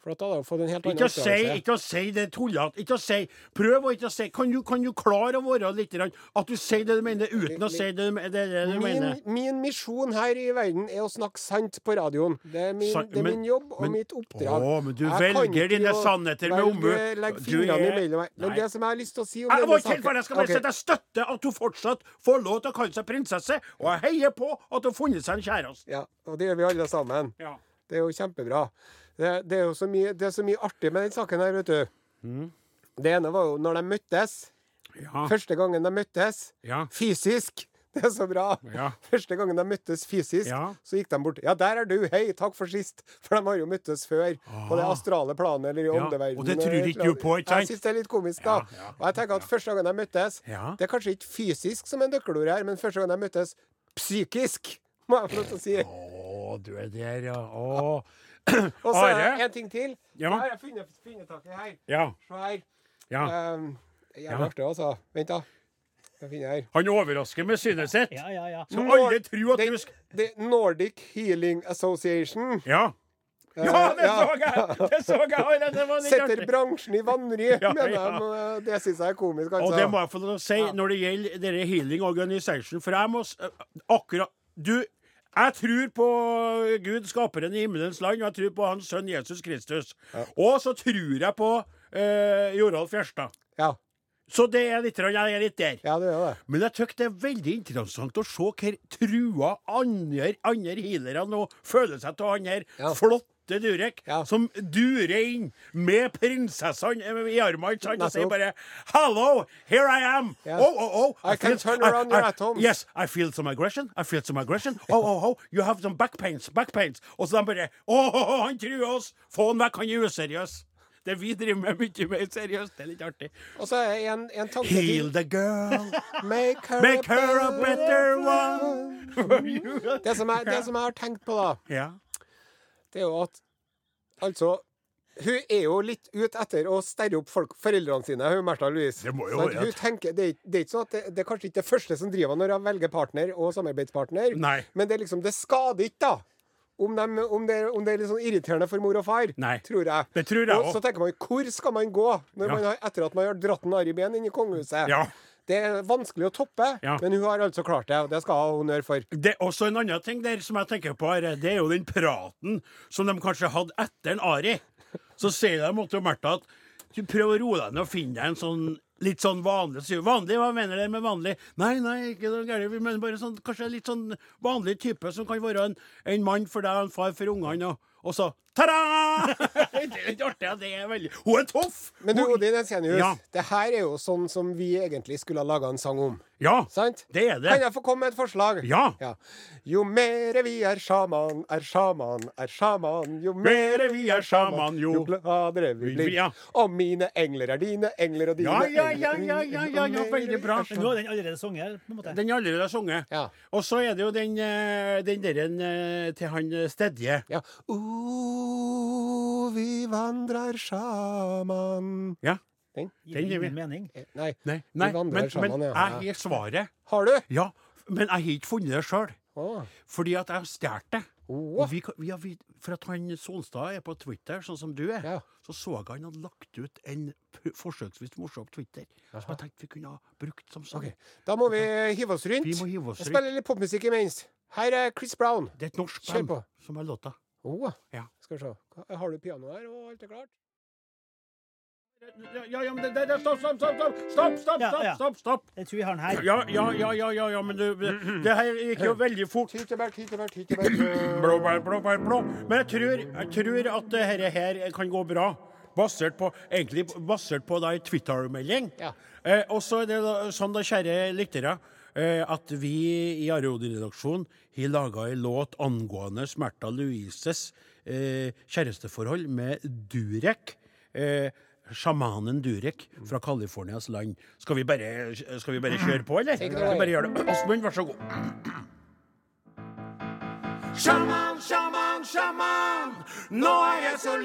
[SPEAKER 4] For at da hadde jeg fått en helt annen
[SPEAKER 2] Ikke å si,
[SPEAKER 4] oppdragelse.
[SPEAKER 2] ikke å si det tullete. Ikke å si Prøv å ikke å si Kan du, kan du klare å være litt grann At du sier det du mener, uten å si det du, det, det
[SPEAKER 4] Min,
[SPEAKER 2] du mener?
[SPEAKER 4] min misjon her i verden er å snakke sant på radioen. Det er min,
[SPEAKER 2] Sa-
[SPEAKER 4] det er
[SPEAKER 2] men-
[SPEAKER 4] min jobb og
[SPEAKER 2] men-
[SPEAKER 4] mitt oppdrag.
[SPEAKER 2] Å, men du
[SPEAKER 4] Jeg
[SPEAKER 2] velger
[SPEAKER 4] kan ikke
[SPEAKER 2] dine
[SPEAKER 4] å
[SPEAKER 2] sannheter med
[SPEAKER 4] velge-
[SPEAKER 2] omhu.
[SPEAKER 4] Legge
[SPEAKER 2] Du
[SPEAKER 4] fingrene
[SPEAKER 2] er-
[SPEAKER 4] imellom meg. Men
[SPEAKER 2] Nei.
[SPEAKER 4] det som jeg har lyst til å si om
[SPEAKER 2] Jeg
[SPEAKER 4] denne
[SPEAKER 2] var ikke
[SPEAKER 4] saken-
[SPEAKER 2] helt ferdig. Jeg skal bare
[SPEAKER 4] Ok.
[SPEAKER 2] si at jeg støtter at hun fortsatt får lov til å kalle seg prinsesse, og jeg heier på at hun har funnet seg en kjæreste.
[SPEAKER 4] Ja, og det gjør vi alle sammen.
[SPEAKER 2] Ja.
[SPEAKER 4] Det er jo kjempebra. Det, det er jo så mye, det er så mye artig med den saken her, vet du.
[SPEAKER 2] Mm.
[SPEAKER 4] Det ene var jo når de møttes.
[SPEAKER 2] Ja.
[SPEAKER 4] Første gangen de møttes.
[SPEAKER 2] Ah. Ja.
[SPEAKER 4] Fysisk. Det er så bra.
[SPEAKER 2] Ja.
[SPEAKER 4] Første gangen de møttes fysisk,
[SPEAKER 2] Ja.
[SPEAKER 4] så gikk de bort. Ja, der er du. Hei, takk for sist. For de har jo møttes før. På det astrale planet eller i
[SPEAKER 2] Ah. Ja,
[SPEAKER 4] åndeverdenen.
[SPEAKER 2] og det tror ikke du på, ikke sant?
[SPEAKER 4] Jeg syns det er litt komisk, da.
[SPEAKER 2] Ja, ja,
[SPEAKER 4] Og jeg tenker at første gangen de møttes
[SPEAKER 2] Ja.
[SPEAKER 4] Det er kanskje ikke fysisk som en nøkkelord her, men første gangen de møttes psykisk, må jeg få lov til å si.
[SPEAKER 2] Å, du er der, ja. Å.
[SPEAKER 4] Og så er
[SPEAKER 2] Are?
[SPEAKER 4] det en ting til.
[SPEAKER 2] Ja.
[SPEAKER 4] Nå har jeg funnet, funnet tak i her.
[SPEAKER 2] Ja.
[SPEAKER 4] Se her.
[SPEAKER 2] ja.
[SPEAKER 4] Um, Jævlig
[SPEAKER 2] Ja.
[SPEAKER 4] artig, altså. Vent, da. Skal finne her.
[SPEAKER 2] Han overrasker med synet sitt.
[SPEAKER 1] Ja, ja, ja.
[SPEAKER 2] Så alle
[SPEAKER 4] Nord-
[SPEAKER 2] tror at
[SPEAKER 4] Det,
[SPEAKER 2] du skal
[SPEAKER 4] det Nordic Healing Association
[SPEAKER 2] Ja.
[SPEAKER 4] Eh,
[SPEAKER 2] Ja, det
[SPEAKER 4] ja.
[SPEAKER 2] så jeg! Det så jeg! Oi, det var litt
[SPEAKER 4] setter
[SPEAKER 2] artig.
[SPEAKER 4] bransjen i vanry,
[SPEAKER 2] Ja,
[SPEAKER 4] mener
[SPEAKER 2] ja.
[SPEAKER 4] de. og Det syns jeg er komisk, altså.
[SPEAKER 2] Og det må jeg få lov til å si når det gjelder dere healing organization, for jeg må s- akkurat Du, jeg tror på Gud, skaperen i himmelens land, og jeg tror på hans sønn Jesus Kristus. Og så tror jeg på eh, Joralf Gjerstad.
[SPEAKER 4] Ja.
[SPEAKER 2] Så det er litt, grann- jeg er litt der.
[SPEAKER 4] ja, det gjør det.
[SPEAKER 2] Men jeg tykker det er veldig interessant å se hvor trua andre, andre healere nå føler seg til han her
[SPEAKER 4] Ja.
[SPEAKER 2] flotte Durek,
[SPEAKER 4] Ja.
[SPEAKER 2] som durer inn med prinsessene eh, i armene ikke sant, og sier
[SPEAKER 4] Nettopp.
[SPEAKER 2] bare 'Hello, here I am'.
[SPEAKER 4] Yes.
[SPEAKER 2] Oh, oh, oh.
[SPEAKER 4] I can turn around your atoms."
[SPEAKER 2] Yes, I feel some aggression. I feel some aggression. Oh, oh, oh, you have some back pains. Back pains. Og så de bare oh, oh, oh, han truer oss! Få han vekk, han er useriøs. Det vi driver med, er mye mer seriøst. Det er litt artig.
[SPEAKER 4] Og så er det en, en tanke
[SPEAKER 2] Heal
[SPEAKER 4] til.
[SPEAKER 2] the girl.
[SPEAKER 4] Make her,
[SPEAKER 2] Make her a better one for you.
[SPEAKER 4] Det som, jeg, det som jeg har tenkt på, da,
[SPEAKER 2] Ja.
[SPEAKER 4] det er jo at Altså, hun er jo litt ute etter å sterre opp folk, foreldrene sine, hun Märtha Louise.
[SPEAKER 2] Det må jo
[SPEAKER 4] Sånn at
[SPEAKER 2] være
[SPEAKER 4] hun
[SPEAKER 2] at-
[SPEAKER 4] tenker, det, er ikke- det er ikke sånn at det, det er kanskje ikke det første som driver henne når hun velger partner og samarbeidspartner,
[SPEAKER 2] Nei.
[SPEAKER 4] men det er liksom, det skader ikke, da. Om, dem- om, det, om det er litt sånn irriterende for mor og far,
[SPEAKER 2] Nei.
[SPEAKER 4] tror jeg.
[SPEAKER 2] Det tror jeg
[SPEAKER 4] og så
[SPEAKER 2] også.
[SPEAKER 4] tenker man, hvor skal man gå når
[SPEAKER 2] Ja.
[SPEAKER 4] man har, etter at man har dratt en arr i ben inn i kongehuset?
[SPEAKER 2] Ja.
[SPEAKER 4] Det er vanskelig å toppe,
[SPEAKER 2] Ja.
[SPEAKER 4] men hun har altså klart det, og det skal hun ha honnør for.
[SPEAKER 2] Det er også en annen ting der som jeg tenker på, her, det er jo den praten som de kanskje hadde etter en Ari. Så sier de til Märtha at du prøver å roe deg ned og finne deg en sånn litt sånn vanlig sier hun, Vanlig, hva mener dere med vanlig? Nei, nei, ikke noe gærent. Vi mener bare sånn, kanskje en litt sånn vanlig type som kan være en, en mann for deg og en far for ungene. Og, og så ta-da! det er litt artig. ja, Det er veldig Hun er tøff!
[SPEAKER 4] Men du,
[SPEAKER 2] Hun-
[SPEAKER 4] Odin Ensenius,
[SPEAKER 2] Ja.
[SPEAKER 4] det her er jo sånn som vi egentlig skulle ha laga en sang om.
[SPEAKER 2] Ja,
[SPEAKER 4] Sant?
[SPEAKER 2] det er det.
[SPEAKER 4] Kan jeg få komme med et forslag?
[SPEAKER 2] Ja.
[SPEAKER 4] Jo mere vi er sjaman, er sjaman, er sjaman, jo mere
[SPEAKER 2] Mere vi er sjaman, jo.
[SPEAKER 4] jo gladere vi blir.
[SPEAKER 2] Ja.
[SPEAKER 4] Og mine engler er dine, engler og dine
[SPEAKER 2] Ja, ja,
[SPEAKER 4] engler
[SPEAKER 2] ja,
[SPEAKER 4] er dine,
[SPEAKER 2] ja, ja, ja, ja,
[SPEAKER 4] jo mere
[SPEAKER 2] veldig bra.
[SPEAKER 4] vi er
[SPEAKER 1] Nå er den allerede sunget, på en måte.
[SPEAKER 2] Den er allerede sunget.
[SPEAKER 4] Ja.
[SPEAKER 2] Og så er det jo den, eh, den der en, eh, til han eh, Stedje.
[SPEAKER 4] Ja. O, vi vandrer sjaman
[SPEAKER 2] Ja.
[SPEAKER 4] Den?
[SPEAKER 1] Gir
[SPEAKER 2] den gir vi.
[SPEAKER 1] ingen mening.
[SPEAKER 4] Nei.
[SPEAKER 2] Nei, nei
[SPEAKER 4] vi vandrer
[SPEAKER 2] men,
[SPEAKER 4] sjaman,
[SPEAKER 2] men
[SPEAKER 4] ja.
[SPEAKER 2] jeg har svaret.
[SPEAKER 4] Har du?
[SPEAKER 2] Ja, men jeg har ikke funnet det sjøl.
[SPEAKER 4] Å.
[SPEAKER 2] Fordi at jeg har stjålet det.
[SPEAKER 4] Åh.
[SPEAKER 2] Og vi, kan- vi, har vid- for at han Solstad er på Twitter, sånn som du er,
[SPEAKER 4] Ja.
[SPEAKER 2] så så jeg han hadde lagt ut en pr- forsøksvis morsom Twitter som jeg tenkte vi kunne ha brukt som sang.
[SPEAKER 4] Ok, Da må vi hive oss rundt.
[SPEAKER 2] Vi må hive oss
[SPEAKER 4] Jeg
[SPEAKER 2] rundt.
[SPEAKER 4] spiller litt popmusikk imens. Her er Chris Brown.
[SPEAKER 2] Det er et norsk
[SPEAKER 4] Kjør
[SPEAKER 2] band
[SPEAKER 4] på.
[SPEAKER 2] som har låta.
[SPEAKER 4] Oh,
[SPEAKER 2] Ja.
[SPEAKER 4] skal vi se. Hva- Har du piano her, og alt er klart?
[SPEAKER 2] Ja, ja, men det, det, det, stopp, stopp, stopp, stopp, stopp, stopp,
[SPEAKER 1] Ja, ja.
[SPEAKER 2] stopp, stopp, stopp.
[SPEAKER 1] Jeg tror vi har den her.
[SPEAKER 2] Ja, ja, ja, ja, ja, ja men du, det her gikk jo veldig fort.
[SPEAKER 4] Tyttebær, tyttebær, tyttebær
[SPEAKER 2] Blå, blå, blå, blå, blå. Men jeg tror, jeg tror at det her, her kan gå bra. Basert på, egentlig basert på da en Twitter-melding.
[SPEAKER 4] Ja.
[SPEAKER 2] Eh, og så er det da, sånn, da, kjære lyttere, eh, at vi i Areodin-redaksjonen har laga en låt angående Smerta Louises eh, kjæresteforhold med Durek. Eh, Sjamanen Durek fra Californias land. Skal vi bare, skal vi bare kjøre på, eller?
[SPEAKER 4] it
[SPEAKER 2] Skal
[SPEAKER 4] away.
[SPEAKER 2] vi bare gjøre det? Åsmund, vær så god. Sjaman, sjaman, sjaman. Nå er jeg så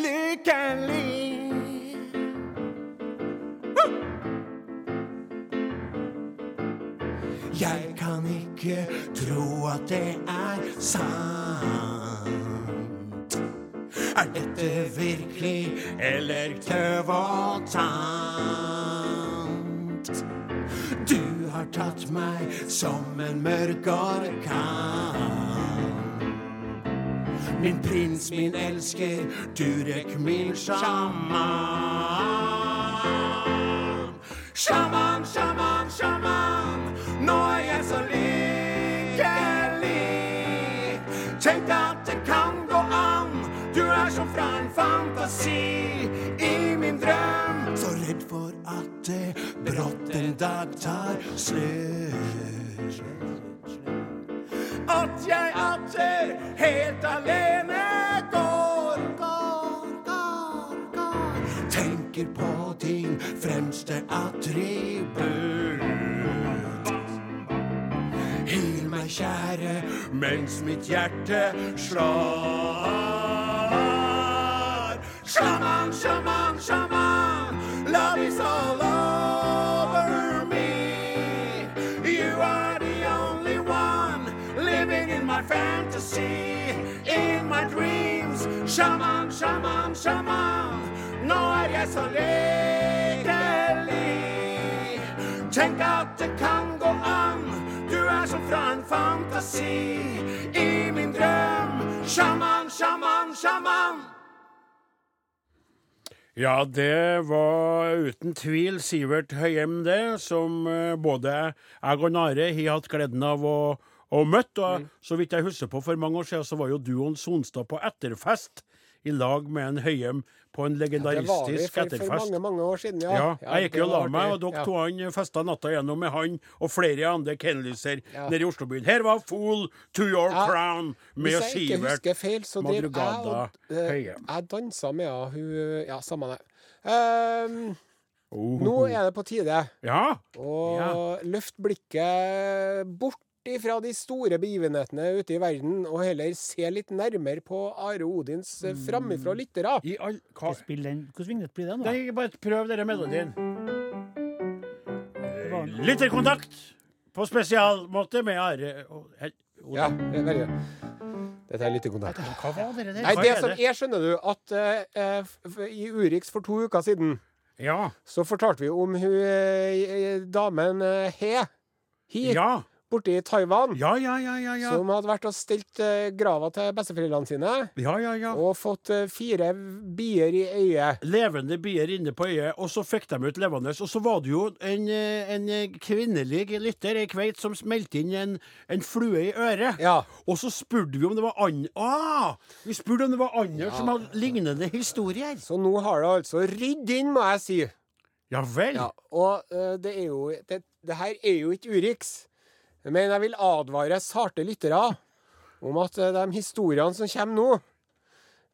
[SPEAKER 2] lykkelig, lykkelig. Huh! Jeg kan ikke tro at det er sant. Er dette virkelig eller tøv og tant? Du har tatt meg som en mørk orkan. Min prins, min elsker, Durek, min sjaman. Sjaman, sjaman, sjaman, nå er jeg så lykkelig. Tenk at det kan gå an, du er som fra en fantasi i min drøm. Så redd for at det brått en dag tar slutt at jeg atter helt alene går. Går, går, går. Tenker på din fremste attributt. Hil meg, kjære, mens mitt hjerte slår. Sjaman, sjaman, sjaman, love is all over me. You are the only one living in my fantasy, in my dreams. Sjaman, sjaman, sjaman, nå er jeg så lykkelig. Tenk at det kan gå an, du er som fra en fantasi i min drøm. Sjaman, sjaman, sjaman. Ja, det var uten tvil Sivert Høyem, det, som eh, både jeg og Nare har hatt gleden av å, å møtte. Og
[SPEAKER 4] Mm.
[SPEAKER 2] så vidt jeg husker på, for mange år siden så var jo duoen Sonstad på etterfest i lag med en Høyem på en
[SPEAKER 4] Det var vi
[SPEAKER 2] legendaristisk
[SPEAKER 4] for, for
[SPEAKER 2] etterfest.
[SPEAKER 4] mange, mange år siden, ja.
[SPEAKER 2] Ja, jeg gikk
[SPEAKER 4] det
[SPEAKER 2] jo og la
[SPEAKER 4] var
[SPEAKER 2] meg, og
[SPEAKER 4] artig.
[SPEAKER 2] dere
[SPEAKER 4] Ja.
[SPEAKER 2] to han festa natta gjennom med han og flere andre kennelser
[SPEAKER 4] Ja.
[SPEAKER 2] nede i Oslobyen. Her var Fool to Your
[SPEAKER 4] Ja.
[SPEAKER 2] Crown med
[SPEAKER 4] Hvis jeg ikke
[SPEAKER 2] Sivert
[SPEAKER 4] husker feil, så drev jeg
[SPEAKER 2] Madrugada
[SPEAKER 4] og eh,
[SPEAKER 2] Høie.
[SPEAKER 4] Jeg dansa med henne. Hun Ja, samme det. Ehm,
[SPEAKER 2] Oh.
[SPEAKER 4] nå er det på tide
[SPEAKER 2] Ja.
[SPEAKER 4] å
[SPEAKER 2] Ja.
[SPEAKER 4] løfte blikket bort ifra de store begivenhetene ute i verden, og heller se litt nærmere på Are Odins eh, framifrå
[SPEAKER 2] Mm.
[SPEAKER 4] lyttere.
[SPEAKER 2] I all Hva?
[SPEAKER 1] Spill den. Hvordan vignett blir det nå?
[SPEAKER 2] Nei, bare prøv denne melodien.
[SPEAKER 4] Mm.
[SPEAKER 2] Eh,
[SPEAKER 1] var-
[SPEAKER 2] Lytterkontakt på spesialmåte med Are og- Hel- Oda.
[SPEAKER 4] Ja, det er veldig Dette er lyttekontakt.
[SPEAKER 2] Hva var dere der?
[SPEAKER 4] Nei,
[SPEAKER 2] Hva
[SPEAKER 4] det
[SPEAKER 2] er
[SPEAKER 4] som er, skjønner du, at eh, f- f- i Urix for to uker siden
[SPEAKER 2] Ja.
[SPEAKER 4] så fortalte vi om hun eh, damen eh, He Hi
[SPEAKER 2] Ja.
[SPEAKER 4] borte i Taiwan,
[SPEAKER 2] Ja, ja, ja, ja. Ja,
[SPEAKER 4] som hadde vært og stelt eh, grava til besteforeldrene sine,
[SPEAKER 2] ja. ja, ja.
[SPEAKER 4] og fått eh, fire bier i øyet.
[SPEAKER 2] levende bier inne på øyet, og så fikk de ut levende. Og så var det jo en, eh, en eh, kvinnelig lytter, ei kveit, som smelte inn en, en flue i øret.
[SPEAKER 4] Ja.
[SPEAKER 2] Og så spurte vi om det var an... Ah, vi spurte om det var andre som hadde lignende historier.
[SPEAKER 4] Så nå har det altså rydd inn, må jeg si.
[SPEAKER 2] Ja vel.
[SPEAKER 4] Ja, og eh, det er jo det, det her er jo ikke Urix, men jeg vil advare sarte lyttere om at eh, de historiene som kommer nå,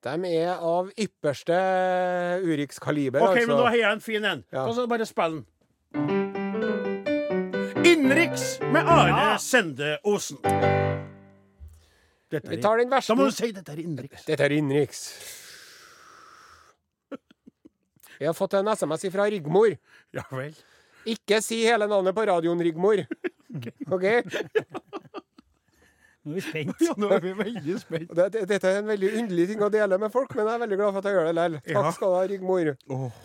[SPEAKER 4] de er av ypperste Urix-kaliber,
[SPEAKER 2] OK, men da
[SPEAKER 4] altså.
[SPEAKER 2] har jeg en fin en.
[SPEAKER 4] Ja.
[SPEAKER 2] Og så bare spill den. Innenriks med Are Sende Osen. Dette er
[SPEAKER 4] Vi tar den verste.
[SPEAKER 2] Da må du si dette er innenriks.
[SPEAKER 4] Dette er innenriks. Jeg har fått en SMS fra Rigmor.
[SPEAKER 2] Ja vel.
[SPEAKER 4] Ikke si hele navnet på radioen, Rigmor. OK?
[SPEAKER 1] Nå er vi spent.
[SPEAKER 2] Ja, nå er vi veldig spent.
[SPEAKER 4] Og det- det- Dette er en veldig underlig ting å dele med folk, men jeg er veldig glad for at jeg gjør det likevel.
[SPEAKER 2] Ja.
[SPEAKER 4] Takk skal du ha, Rigmor.
[SPEAKER 2] Åh,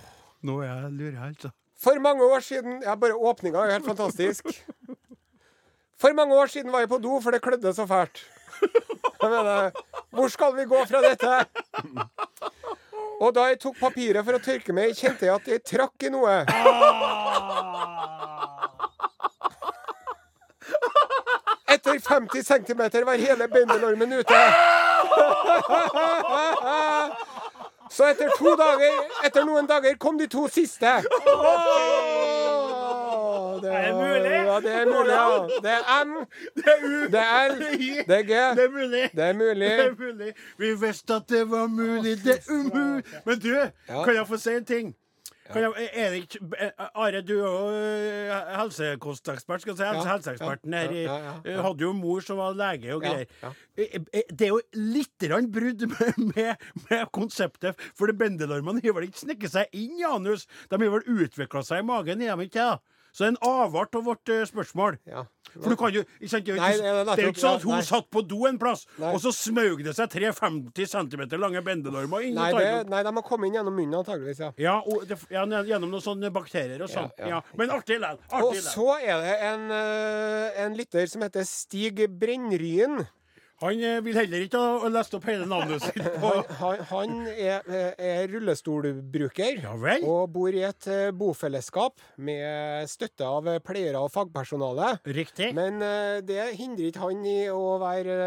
[SPEAKER 2] nå er jeg lurer her, altså.
[SPEAKER 4] For mange år siden Ja, bare åpninga er jo helt fantastisk. For mange år siden var jeg på do, for det klødde så fælt. Jeg mener, hvor skal vi gå fra dette? Og da jeg tok papiret for å tørke meg, kjente jeg at jeg trakk i noe. Etter 50 cm var hele bendelormen ute. Så etter to dager Etter noen dager kom de to siste. Åh, det,
[SPEAKER 2] Er det mulig?
[SPEAKER 4] Ja, det er mulig, ja. Det er M,
[SPEAKER 2] Det er u...
[SPEAKER 4] det er L, det er
[SPEAKER 2] Det
[SPEAKER 4] G.
[SPEAKER 2] er mulig.
[SPEAKER 4] Det er mulig.
[SPEAKER 2] Det er mulig. Vi visste at det var mulig. Det er umulig. Men du, kan jeg få si en ting? Kan jeg, er det ikke, eh, Are, du er jo eh, helsekostekspert. Skal jeg si, helse,
[SPEAKER 4] Ja,
[SPEAKER 2] helseeksperten
[SPEAKER 4] ja,
[SPEAKER 2] her
[SPEAKER 4] ja, ja, ja,
[SPEAKER 2] eh,
[SPEAKER 4] ja.
[SPEAKER 2] hadde jo mor som var lege og
[SPEAKER 4] Ja,
[SPEAKER 2] greier.
[SPEAKER 4] ja.
[SPEAKER 2] Eh, eh, Det er jo litt grann brudd med, med, med konseptet, for de bendelarmene har vel ikke snekket seg inn i anus? De har vel utvikla seg i magen, har de ikke det? Så det er en avart av vårt eh, spørsmål.
[SPEAKER 4] Ja.
[SPEAKER 2] For du kan jo ikke sant, Det er
[SPEAKER 4] Nei,
[SPEAKER 2] jo
[SPEAKER 4] det er
[SPEAKER 2] ikke- det er jo ikke
[SPEAKER 4] nettopp-
[SPEAKER 2] sånn at hun
[SPEAKER 4] ja, nei.
[SPEAKER 2] satt på do en plass,
[SPEAKER 4] Nei.
[SPEAKER 2] og så smaug det seg tre 50 cm lange bendelarmer inn
[SPEAKER 4] Nei,
[SPEAKER 2] i
[SPEAKER 4] det,
[SPEAKER 2] tarmen.
[SPEAKER 4] nei, de har kommet inn gjennom munnen, antageligvis. ja.
[SPEAKER 2] Ja, og det, ja, ned- gjennom noen sånne bakterier og sånn.
[SPEAKER 4] Ja,
[SPEAKER 2] Ja,
[SPEAKER 4] ja.
[SPEAKER 2] Men artig likevel.
[SPEAKER 4] Og
[SPEAKER 2] Artig likevel.
[SPEAKER 4] så er det en, eh, en lytter som heter Stig Brennryen.
[SPEAKER 2] Han eh, vil heller ikke ha ha lest opp hele navnet sitt på
[SPEAKER 4] Han, han er, eh, er rullestolbruker.
[SPEAKER 2] Ja vel?
[SPEAKER 4] Og bor i et eh, bofellesskap med støtte av eh, pleiere og fagpersonale.
[SPEAKER 2] Riktig.
[SPEAKER 4] Men eh, det hindrer ikke han i å være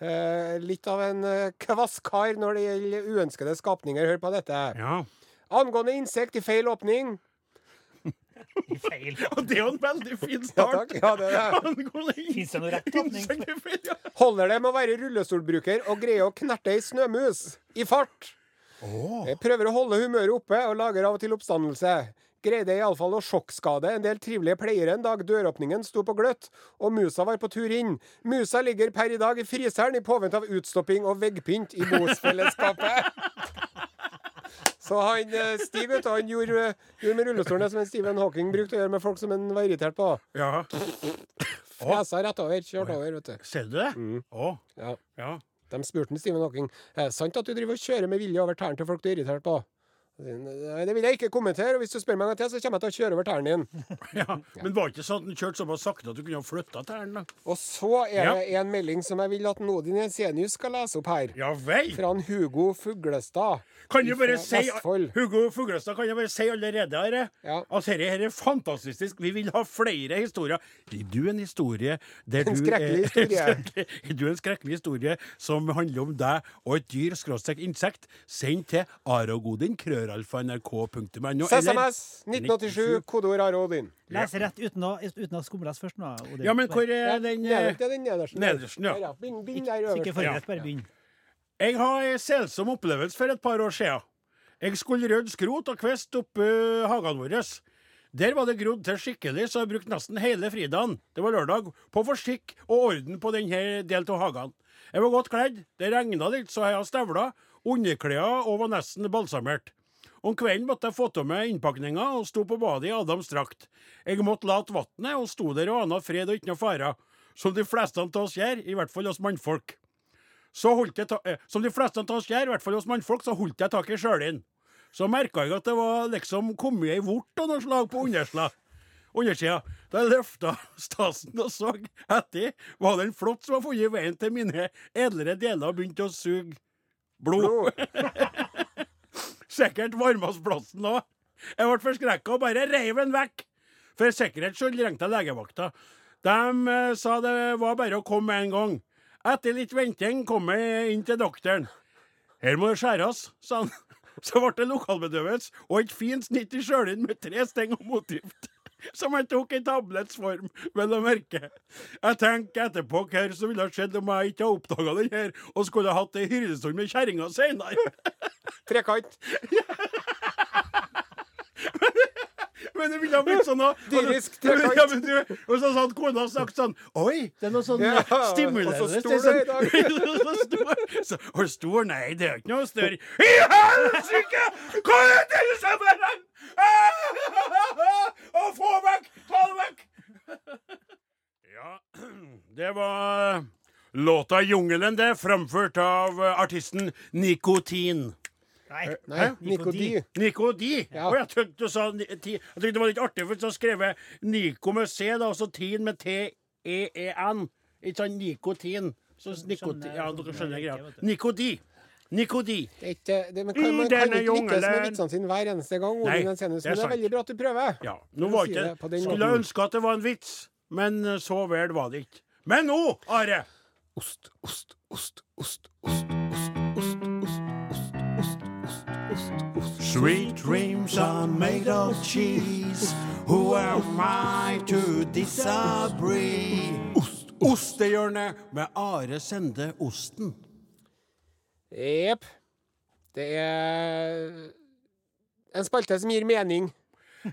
[SPEAKER 4] eh, eh, litt av en eh, kvasskar når det gjelder uønskede skapninger. Hør på dette.
[SPEAKER 2] Ja.
[SPEAKER 4] Angående insekt i feil åpning.
[SPEAKER 1] Feil.
[SPEAKER 2] Og det er jo en veldig fin
[SPEAKER 4] Ja,
[SPEAKER 2] start.
[SPEAKER 4] takk. Ja, det er det.
[SPEAKER 1] Fins det noe rett åpning?
[SPEAKER 4] Holder det med å være rullestolbruker og greie å knerte ei snømus i fart? Jeg prøver å holde humøret oppe og lager av og til oppstandelse. Greide iallfall å sjokkskade en del trivelige pleiere en dag døråpningen sto på gløtt, og musa var på tur inn. Musa ligger per i dag i fryseren i påvente av utstopping og veggpynt i bosfellesskapet. Så han eh, Stig vet du, han gjorde, eh, gjorde med rullestolen det som en Stephen Hawking brukte å gjøre med folk som han var irritert på.
[SPEAKER 2] Ja.
[SPEAKER 4] Fresa rett over, kjørt over, vet du.
[SPEAKER 2] Ser du det? Å.
[SPEAKER 4] Mm. Ja.
[SPEAKER 2] Ja.
[SPEAKER 4] De spurte han, Stephen Hawking er det sant at du driver og kjører med vilje over tærne til folk du er irritert på. Han sier, Nei, det vil jeg ikke kommentere, og hvis du spør meg en gang til, så kommer jeg til å kjøre over tærne din.
[SPEAKER 2] ja. Men var det ikke sånn at den kjørte såpass sakte at du kunne ha flytta tærne? da?
[SPEAKER 4] Og så er det en melding som jeg vil at Nodin Jensenius skal lese opp her.
[SPEAKER 2] Ja vel!
[SPEAKER 4] Fra han Hugo Fuglestad.
[SPEAKER 2] Kan jeg bare
[SPEAKER 4] Fra
[SPEAKER 2] si,
[SPEAKER 4] Vestfold.
[SPEAKER 2] Hugo Fuglestad, kan jeg bare si allerede her, eh?
[SPEAKER 4] Ja.
[SPEAKER 2] at dette her er fantastisk. Vi vil ha flere historier. Gir du en historie der du
[SPEAKER 4] En skrekkelig
[SPEAKER 2] er-
[SPEAKER 4] historie.
[SPEAKER 2] Gir du en skrekkelig historie som handler om deg og et dyr, skråstrek insekt, send til arogodin.krøralfa.nrk.no.
[SPEAKER 4] SMS 1987, kodeord Are Odin.
[SPEAKER 1] Les rett uten å, uten å skumles først nå. og det-
[SPEAKER 2] Ja, men hvor
[SPEAKER 4] Ja,
[SPEAKER 2] er den eh,
[SPEAKER 4] nederst, det er den nederste.
[SPEAKER 2] nedersten, ja.
[SPEAKER 4] Der, Bind, bind der
[SPEAKER 1] Så Ikke
[SPEAKER 4] øverst.
[SPEAKER 1] forberedt, bare begynn.
[SPEAKER 2] Jeg har en selsom opplevelse for et par år siden. Jeg skulle rydde skrot og kvist oppe i hagen vår. Der var det grodd til skikkelig, så jeg brukte nesten hele fridagen, det var lørdag, på å få skikk og orden på denne delen av hagen. Jeg var godt kledd, det regna litt, så jeg hadde støvler, underklær og var nesten balsamert. Om kvelden måtte jeg få av meg innpakninga og sto på badet i Adams drakt. Jeg måtte late vannet og sto der og ana fred og ikke noe fare, som de fleste av oss gjør, i hvert fall oss mannfolk. Så holdt jeg ta eh, som de fleste av oss gjør, i hvert fall hos mannfolk, så holdt jeg tak i sjølin. Så merka jeg at det var liksom kommet ei vort av noe slag på undersla. Undersida. Da jeg løfta stasen og så etter, var det en flått som hadde funnet veien til mine edlere deler og begynt å suge blod. Sikkert varmastplassen òg. Jeg ble forskrekka og bare reiv den vekk. For sikkerhets skyld ringte jeg legevakta. De eh, sa det var bare å komme med en gang. Etter litt venting kom jeg inn til doktoren. Her må det skjæres, sa han. Så ble det lokalbedøvelse og et fint snitt i sjølin med tre steng og motgift. Som jeg tok i tabletts form, vel å merke. Jeg tenker etterpå hva som ville ha skjedd om jeg ikke hadde oppdaga den her, og skulle ha hatt ei hyrdestund med kjerringa seinere.
[SPEAKER 4] Trekant.
[SPEAKER 2] Men det ville ha blitt sånn òg.
[SPEAKER 4] Dyrisk trekant.
[SPEAKER 2] ja, men du, Og så hadde kona sagt sånn Oi, det er noe sånn
[SPEAKER 4] Ja,
[SPEAKER 2] eh, stimulerende
[SPEAKER 4] og så stor
[SPEAKER 2] det er
[SPEAKER 4] du er
[SPEAKER 2] sånn- så stor. Så, og stor? Nei, det er jo ikke noe større. I helsike! Hva er det du sier med den? Å, Ah! få vekk! Ta det vekk! Ja, det var låta 'Jungelen', det, framført av eh, artisten Nikotin.
[SPEAKER 1] Nei.
[SPEAKER 4] Nei, Nico D.
[SPEAKER 2] Nico Di?
[SPEAKER 4] Ja.
[SPEAKER 2] Å, jeg tykte du sa ni- ti. Jeg tykte det var litt artig, for så skrev jeg Nico med C, da, og så Tin med T-E-E-N. Ikke sant? Nikotin. Så Nikotin Ja, dere skjønner greia. Nico Di. Nico Di.
[SPEAKER 4] Det er ikke, det, men kan,
[SPEAKER 2] I
[SPEAKER 4] man kan
[SPEAKER 2] denne
[SPEAKER 4] ikke lykkes med
[SPEAKER 2] jungelen.
[SPEAKER 4] vitsene sine hver eneste gang.
[SPEAKER 2] Nei,
[SPEAKER 4] Odin Jensenius, men
[SPEAKER 2] det er
[SPEAKER 4] det er
[SPEAKER 2] sant.
[SPEAKER 4] veldig bra at du prøver.
[SPEAKER 2] Ja. Nå
[SPEAKER 4] Du
[SPEAKER 2] var
[SPEAKER 4] sier
[SPEAKER 2] ikke
[SPEAKER 4] det på den
[SPEAKER 2] Skulle
[SPEAKER 4] måten.
[SPEAKER 2] jeg ønske at det var en vits, men eh, så vel var det ikke. Men nå, Are
[SPEAKER 3] Ost, ost, ost, ost, ost, ost, ost, ost, ost, ost, ost, ost, ost.
[SPEAKER 2] Sweet dreams are made of cheese. Who am I to disagree? Ost, Ostehjørnet med Are Sende Osten.
[SPEAKER 4] Jepp. Det er En spalte som gir mening.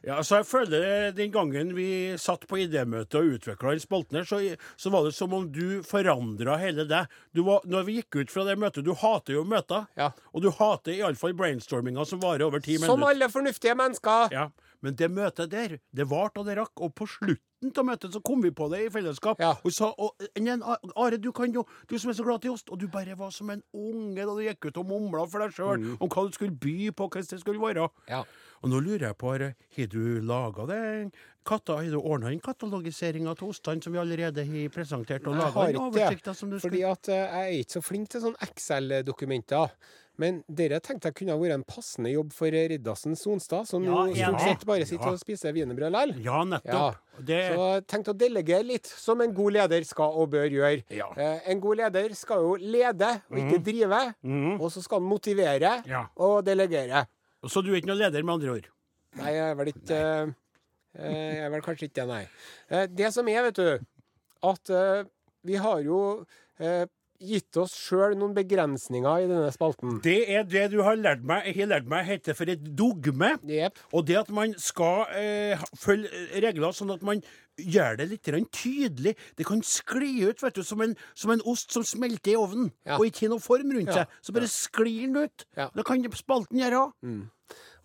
[SPEAKER 2] Ja, altså jeg føler Den gangen vi satt på idémøte og utvikla den spalten, her, så, så var det som om du forandra hele deg. Du var, når vi gikk ut fra det møtet Du hater jo møter.
[SPEAKER 4] Ja.
[SPEAKER 2] Og du hater iallfall brainstorminga som varer over ti
[SPEAKER 4] Som
[SPEAKER 2] minutter.
[SPEAKER 4] alle fornuftige mennesker.
[SPEAKER 2] Ja. Men det møtet der, det varte og det rakk. Og på slutten av møtet så kom vi på det i fellesskap.
[SPEAKER 4] Ja.
[SPEAKER 2] Og sa og, «Nei, Are, du kan jo Du som er så glad i ost. Og du bare var som en unge da du gikk ut og mumla for deg sjøl om hva du skulle by på, hvordan det skulle være.
[SPEAKER 4] Mm. Ja.
[SPEAKER 2] Og nå lurer jeg på, Are, har du laga den katta? Har du ordna inn katalogiseringa av ostene som vi allerede har presentert, og
[SPEAKER 4] Jeg
[SPEAKER 2] laga
[SPEAKER 4] har
[SPEAKER 2] den
[SPEAKER 4] ikke
[SPEAKER 2] oversikta
[SPEAKER 4] det.
[SPEAKER 2] som du
[SPEAKER 4] Fordi
[SPEAKER 2] skulle
[SPEAKER 4] at eh, jeg er ikke så flink til sånne Excel-dokumenter. Men dere tenkte jeg kunne ha vært en passende jobb for eh, Riddarsen Sonstad, som
[SPEAKER 1] Ja,
[SPEAKER 4] jo
[SPEAKER 1] enig.
[SPEAKER 4] stort sett bare sitter
[SPEAKER 2] Ja.
[SPEAKER 4] og spiser wienerbrød likevel.
[SPEAKER 2] Ja, nettopp. Det,
[SPEAKER 4] Så jeg tenkte å delegere litt, som en god leder skal og bør gjøre.
[SPEAKER 2] Ja. Mhm.
[SPEAKER 4] Eh, en god leder skal jo lede, og ikke drive. Og så skal han motivere
[SPEAKER 2] Ja.
[SPEAKER 4] og delegere.
[SPEAKER 2] så du er ikke noen leder, med andre ord?
[SPEAKER 4] Nei, jeg er vel ikke eh, eh, Jeg er vel kanskje ikke det, nei. Eh, det som er, vet du, at eh, vi har jo eh, gitt oss sjøl noen begrensninger i denne spalten.
[SPEAKER 2] Det er det du har lært meg, har lært meg heter for et dogme.
[SPEAKER 4] Jepp.
[SPEAKER 2] Og det at man skal eh, ha- følge regler sånn at man gjør det litt grann tydelig. Det kan skli ut vet du, som, en, som en ost som smelter i ovnen,
[SPEAKER 4] Ja.
[SPEAKER 2] og ikke har noen form rundt
[SPEAKER 4] Ja.
[SPEAKER 2] seg. Så bare sklir den ut.
[SPEAKER 4] Ja. Mm.
[SPEAKER 2] Det kan spalten gjøre.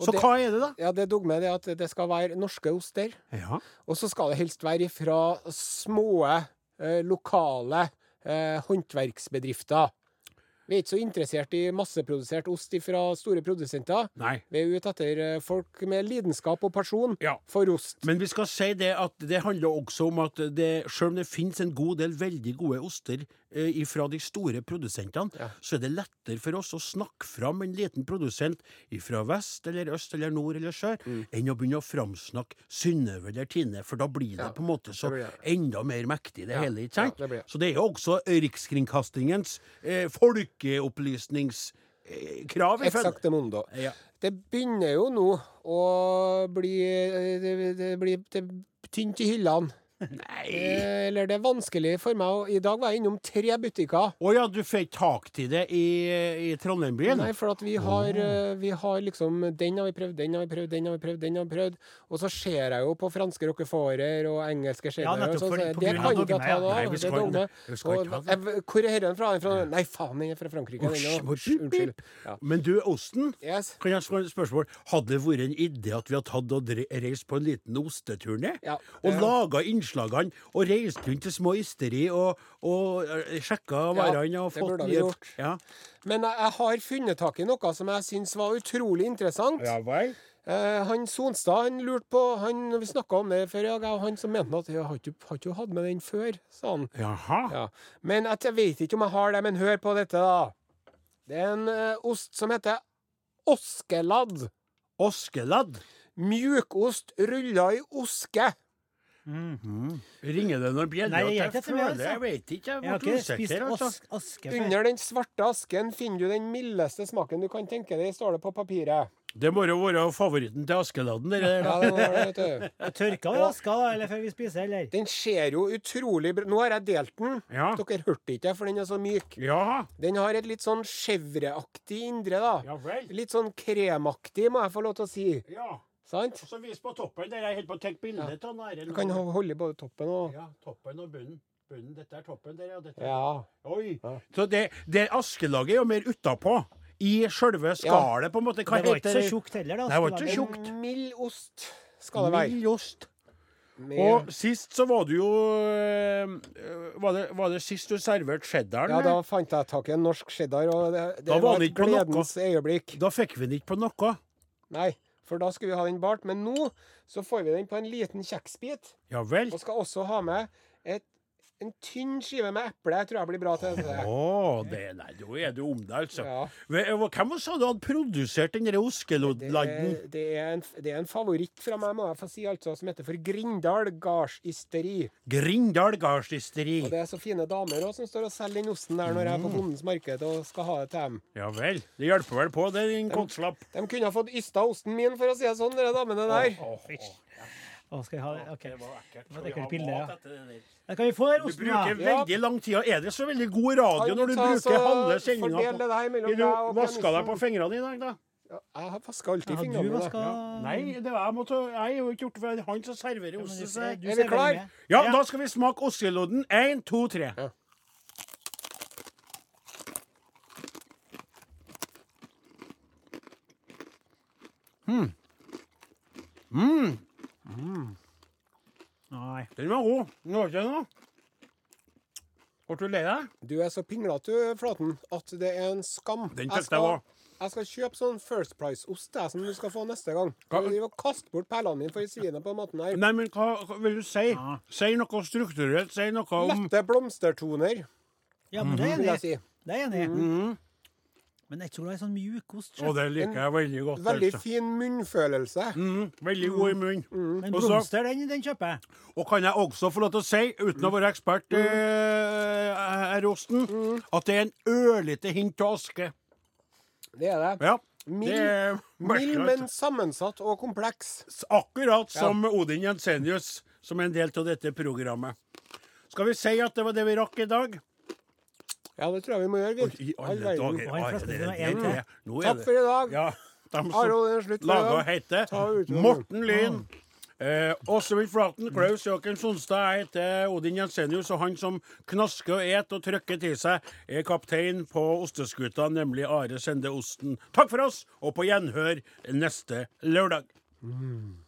[SPEAKER 4] Og
[SPEAKER 2] Så
[SPEAKER 4] det-
[SPEAKER 2] hva er det, da?
[SPEAKER 4] Ja, det dogmet er at det skal være norske oster.
[SPEAKER 2] Ja.
[SPEAKER 4] Og så skal det helst være fra små, eh, lokale eh, håndverksbedrifter. Vi er ikke så interessert i masseprodusert ost fra store produsenter.
[SPEAKER 2] Nei.
[SPEAKER 4] Vi er ute etter eh, folk med lidenskap og pasjon
[SPEAKER 2] Ja.
[SPEAKER 4] for ost.
[SPEAKER 2] Men vi skal si det at det handler også om at det, selv om det finnes en god del veldig gode oster eh, fra de store produsentene, så er det lettere for oss å snakke fram en liten produsent fra vest eller øst eller nord eller sør,
[SPEAKER 4] Mm.
[SPEAKER 2] enn å begynne å framsnakke Synnøve eller Tine, for da blir det på en måte så
[SPEAKER 4] det blir det.
[SPEAKER 2] enda mer mektig det hele, ikke sant?
[SPEAKER 4] ja, det blir det.
[SPEAKER 2] så det er jo også Rikskringkastingens eh, folkeopplysningskrav. Eh,
[SPEAKER 4] Exakt det mundo.
[SPEAKER 2] Ja.
[SPEAKER 4] Det begynner jo nå å bli eh, Det, det blir det er tynt i hyllene.
[SPEAKER 2] Nei!
[SPEAKER 4] Eh, Eller det er vanskelig for meg å I dag var jeg innom tre butikker.
[SPEAKER 2] Å ja, du fikk tak til det i, eh, i Trondheim-byen?
[SPEAKER 4] Nei, for at vi har, eh, vi har liksom Den har vi prøvd, den har vi prøvd, den har vi prøvd, den har vi prøvd. Og så ser jeg jo på franske rockefòrer og engelske skjebner.
[SPEAKER 1] nettopp,
[SPEAKER 4] så,
[SPEAKER 1] for-
[SPEAKER 4] så,
[SPEAKER 1] på
[SPEAKER 4] det
[SPEAKER 1] grunn
[SPEAKER 4] kan
[SPEAKER 1] av
[SPEAKER 4] ikke jeg
[SPEAKER 1] dogme,
[SPEAKER 4] ta
[SPEAKER 1] ja.
[SPEAKER 4] nå.
[SPEAKER 2] Nei, vi
[SPEAKER 4] Det
[SPEAKER 2] skal
[SPEAKER 4] er
[SPEAKER 2] ikke-
[SPEAKER 4] dogme.
[SPEAKER 2] vi skal ikke
[SPEAKER 4] Og
[SPEAKER 2] ha det.
[SPEAKER 4] jeg- Hvor er den fra? Den er fra Nei, faen, den er fra Frankrike. den
[SPEAKER 2] Usch,
[SPEAKER 4] er-
[SPEAKER 2] hvor-
[SPEAKER 4] Usch, Unnskyld. Ja.
[SPEAKER 2] Men du, Osten,
[SPEAKER 4] Yes.
[SPEAKER 2] kan jeg spørre et spørsmål? Hadde det vært en idé at vi hadde tatt og dre- reist på en liten osteturné?
[SPEAKER 4] Ja.
[SPEAKER 2] Og laga innslagene og reist rundt til små ysteri og, og eh, sjekka
[SPEAKER 4] Ja,
[SPEAKER 2] varene og
[SPEAKER 4] det
[SPEAKER 2] fått
[SPEAKER 4] burde vi gjort.
[SPEAKER 2] Ja.
[SPEAKER 4] Men jeg, jeg har funnet tak i noe som jeg syns var utrolig interessant.
[SPEAKER 2] vel.
[SPEAKER 4] Eh, han Sonstad han lurte på han, Vi snakka om det før i dag, og han som mente at ja, har ikke har ikke du hatt med den før? sa han.
[SPEAKER 2] Jaha.
[SPEAKER 4] Ja. Men at jeg vet ikke om jeg har det, men hør på dette, da. Det er en eh, ost som heter oskeladd.
[SPEAKER 2] Oskeladd.
[SPEAKER 4] Mjukost rulla i oske.
[SPEAKER 2] Ringer det noen bjeller?
[SPEAKER 1] Nei,
[SPEAKER 2] At
[SPEAKER 1] jeg er ikke etter meg, altså.
[SPEAKER 2] Jeg vet ikke, jeg
[SPEAKER 1] Jeg har
[SPEAKER 2] ble
[SPEAKER 1] ikke spist
[SPEAKER 2] usikker. Altså.
[SPEAKER 1] ask, aske før.
[SPEAKER 4] Under den svarte asken finner du den mildeste smaken du kan tenke deg, står det på papiret.
[SPEAKER 2] Det må jo være favoritten til Askeladden. det der.
[SPEAKER 4] Ja, den, var det, vet du.
[SPEAKER 1] Jeg Tørka vel aska da, eller før vi spiser, eller?
[SPEAKER 4] den ser jo utrolig bra Nå har jeg delt den.
[SPEAKER 2] Ja.
[SPEAKER 4] Dere hørte ikke, for den er så myk.
[SPEAKER 2] Ja.
[SPEAKER 4] Den har et litt sånn chèvreaktig indre, da.
[SPEAKER 2] Ja vel.
[SPEAKER 4] Litt sånn kremaktig, må jeg få lov til å si.
[SPEAKER 2] ja.
[SPEAKER 4] Sant?
[SPEAKER 2] Så vis på toppen der jeg holder på å ta bilde av den. her.
[SPEAKER 4] Du kan ho- holde i både toppen og
[SPEAKER 2] Ja, toppen og bunnen. Bunnen, Dette er toppen der, ja. Dette.
[SPEAKER 4] Ja.
[SPEAKER 2] Oi. Så det, det askelaget er jo mer utapå. I sjølve skallet, på en måte. Hva
[SPEAKER 1] Det var ikke
[SPEAKER 2] heter
[SPEAKER 1] så
[SPEAKER 2] det?
[SPEAKER 1] tjukt heller, da.
[SPEAKER 2] Nei, det var ikke
[SPEAKER 1] askelaget.
[SPEAKER 2] tjukt.
[SPEAKER 4] Mild ost skal det være.
[SPEAKER 2] Mild ost.
[SPEAKER 4] Med
[SPEAKER 2] Og sist så var du jo øh, var, det, var det sist du serverte cheddaren?
[SPEAKER 4] Ja, da fant jeg tak i en norsk cheddar, og det, det
[SPEAKER 2] Da var
[SPEAKER 4] var
[SPEAKER 2] han
[SPEAKER 4] et
[SPEAKER 2] ikke på noe.
[SPEAKER 4] gledens øyeblikk.
[SPEAKER 2] Da fikk vi den ikke på noe.
[SPEAKER 4] Nei, for da skulle vi ha den bart, men nå så får vi den på en liten kjeksbit,
[SPEAKER 2] Ja vel.
[SPEAKER 4] og skal også ha med et, en tynn skive med eple, jeg tror jeg blir bra til det.
[SPEAKER 2] Å, det, nei, da er du om deg, altså.
[SPEAKER 4] Ja.
[SPEAKER 2] Ve- hva- Hvem sa du hadde produsert den der
[SPEAKER 4] Det
[SPEAKER 2] oskelodlanden?
[SPEAKER 4] er, det, er en, det er en favoritt fra meg, må jeg få si, altså, som heter for Grindal Gardsysteri.
[SPEAKER 2] Grindal gardsysteri.
[SPEAKER 4] Og det er så fine damer også, som står og selger den osten der når jeg er
[SPEAKER 2] Mm.
[SPEAKER 4] på Bondens marked og skal ha det til dem.
[SPEAKER 2] Ja vel. Det hjelper vel på, det, din kåtslapp.
[SPEAKER 4] De kunne ha fått ysta osten min, for å si det sånn, dere damene der.
[SPEAKER 1] Å, skal vi ha det? OK. Det var et ekkelt bilde, ja.
[SPEAKER 2] Du
[SPEAKER 1] Da kan vi få den osten,
[SPEAKER 2] bruker
[SPEAKER 1] da.
[SPEAKER 4] Ja.
[SPEAKER 2] veldig lang tid. og Er det så veldig god radio
[SPEAKER 4] Kan
[SPEAKER 2] når
[SPEAKER 4] du
[SPEAKER 2] du
[SPEAKER 4] ta
[SPEAKER 2] bruker
[SPEAKER 4] så
[SPEAKER 2] halve
[SPEAKER 4] fordel
[SPEAKER 2] sendinga
[SPEAKER 4] det her mellom
[SPEAKER 2] på
[SPEAKER 4] deg og
[SPEAKER 2] Du vaska deg
[SPEAKER 4] pianisten?
[SPEAKER 2] på fingrene i dag, da?
[SPEAKER 4] Ja, jeg vasker alltid
[SPEAKER 1] Har
[SPEAKER 4] fingrene
[SPEAKER 1] du
[SPEAKER 4] mine.
[SPEAKER 1] vaska
[SPEAKER 2] Nei, det var jeg måtte Jeg har jo ikke gjort det, for det er han som serverer
[SPEAKER 1] men
[SPEAKER 2] osten.
[SPEAKER 1] du-
[SPEAKER 2] så jeg-
[SPEAKER 1] du
[SPEAKER 4] Er vi
[SPEAKER 1] ser veldig
[SPEAKER 4] klar?
[SPEAKER 1] med.
[SPEAKER 2] Ja, da skal vi smake ostelodden. Én, to, tre.
[SPEAKER 4] Ja.
[SPEAKER 1] Nei.
[SPEAKER 2] Den var god. Den var ikke noe. Ble du lei deg?
[SPEAKER 4] Du er så pinglete, du, Flaten, at det er en skam.
[SPEAKER 2] Den
[SPEAKER 4] jeg,
[SPEAKER 2] tenkte
[SPEAKER 4] skal,
[SPEAKER 2] jeg
[SPEAKER 4] jeg skal kjøpe sånn First Price-ost jeg, som du skal få neste gang.
[SPEAKER 2] Hva-
[SPEAKER 4] Du må kaste bort perlene mine for å si det på den måten her.
[SPEAKER 2] Nei, men hva, hva vil du si? Si noe strukturelt. Si noe om
[SPEAKER 4] Lette blomstertoner,
[SPEAKER 1] Ja,
[SPEAKER 2] Mhm.
[SPEAKER 1] men det er
[SPEAKER 4] vil jeg
[SPEAKER 1] enig.
[SPEAKER 4] si.
[SPEAKER 1] Det er enig. Men jeg er ikke så glad i sånn mjukost.
[SPEAKER 2] Å,
[SPEAKER 1] sjef.
[SPEAKER 2] det liker jeg veldig godt.
[SPEAKER 4] Veldig Mm,
[SPEAKER 2] altså.
[SPEAKER 4] fin munnfølelse.
[SPEAKER 2] Mm, veldig god i munnen.
[SPEAKER 1] Men
[SPEAKER 2] Og så-
[SPEAKER 1] blomster, den, den kjøper jeg.
[SPEAKER 2] Og kan jeg også få lov til å si, uten å være ekspert,
[SPEAKER 4] Mm.
[SPEAKER 2] eh, herr Osten, at det er en ørlite hint av aske.
[SPEAKER 4] Det er det.
[SPEAKER 2] Ja.
[SPEAKER 4] Mild-
[SPEAKER 2] det er
[SPEAKER 4] Mild,
[SPEAKER 2] merkelig,
[SPEAKER 4] men
[SPEAKER 2] altså.
[SPEAKER 4] sammensatt og kompleks.
[SPEAKER 2] S- Akkurat som Odin Jensenius, som er en del av dette programmet. Skal vi si at det var det vi rakk i dag?
[SPEAKER 4] Ja, det tror jeg vi må gjøre, vi.
[SPEAKER 2] I alle
[SPEAKER 4] verden.
[SPEAKER 2] dager.
[SPEAKER 1] Oi,
[SPEAKER 2] Are,
[SPEAKER 1] forresten,
[SPEAKER 2] det,
[SPEAKER 1] det var
[SPEAKER 2] det,
[SPEAKER 1] en
[SPEAKER 2] det,
[SPEAKER 1] til.
[SPEAKER 2] nå er
[SPEAKER 4] Takk for i dag.
[SPEAKER 2] Ja, de som
[SPEAKER 4] Are, det er slutt for i
[SPEAKER 2] lager
[SPEAKER 4] dag.
[SPEAKER 2] og heter
[SPEAKER 4] Ta ut noe.
[SPEAKER 2] Morten Lyn. Eh, Åsvild Flaten, Klaus Jåken Sonstad, jeg heter Odin Jensenius, og han som knasker og et og trykker til seg, er kaptein på osteskuta, nemlig Are Sende Osten. Takk for oss, og på gjenhør neste lørdag.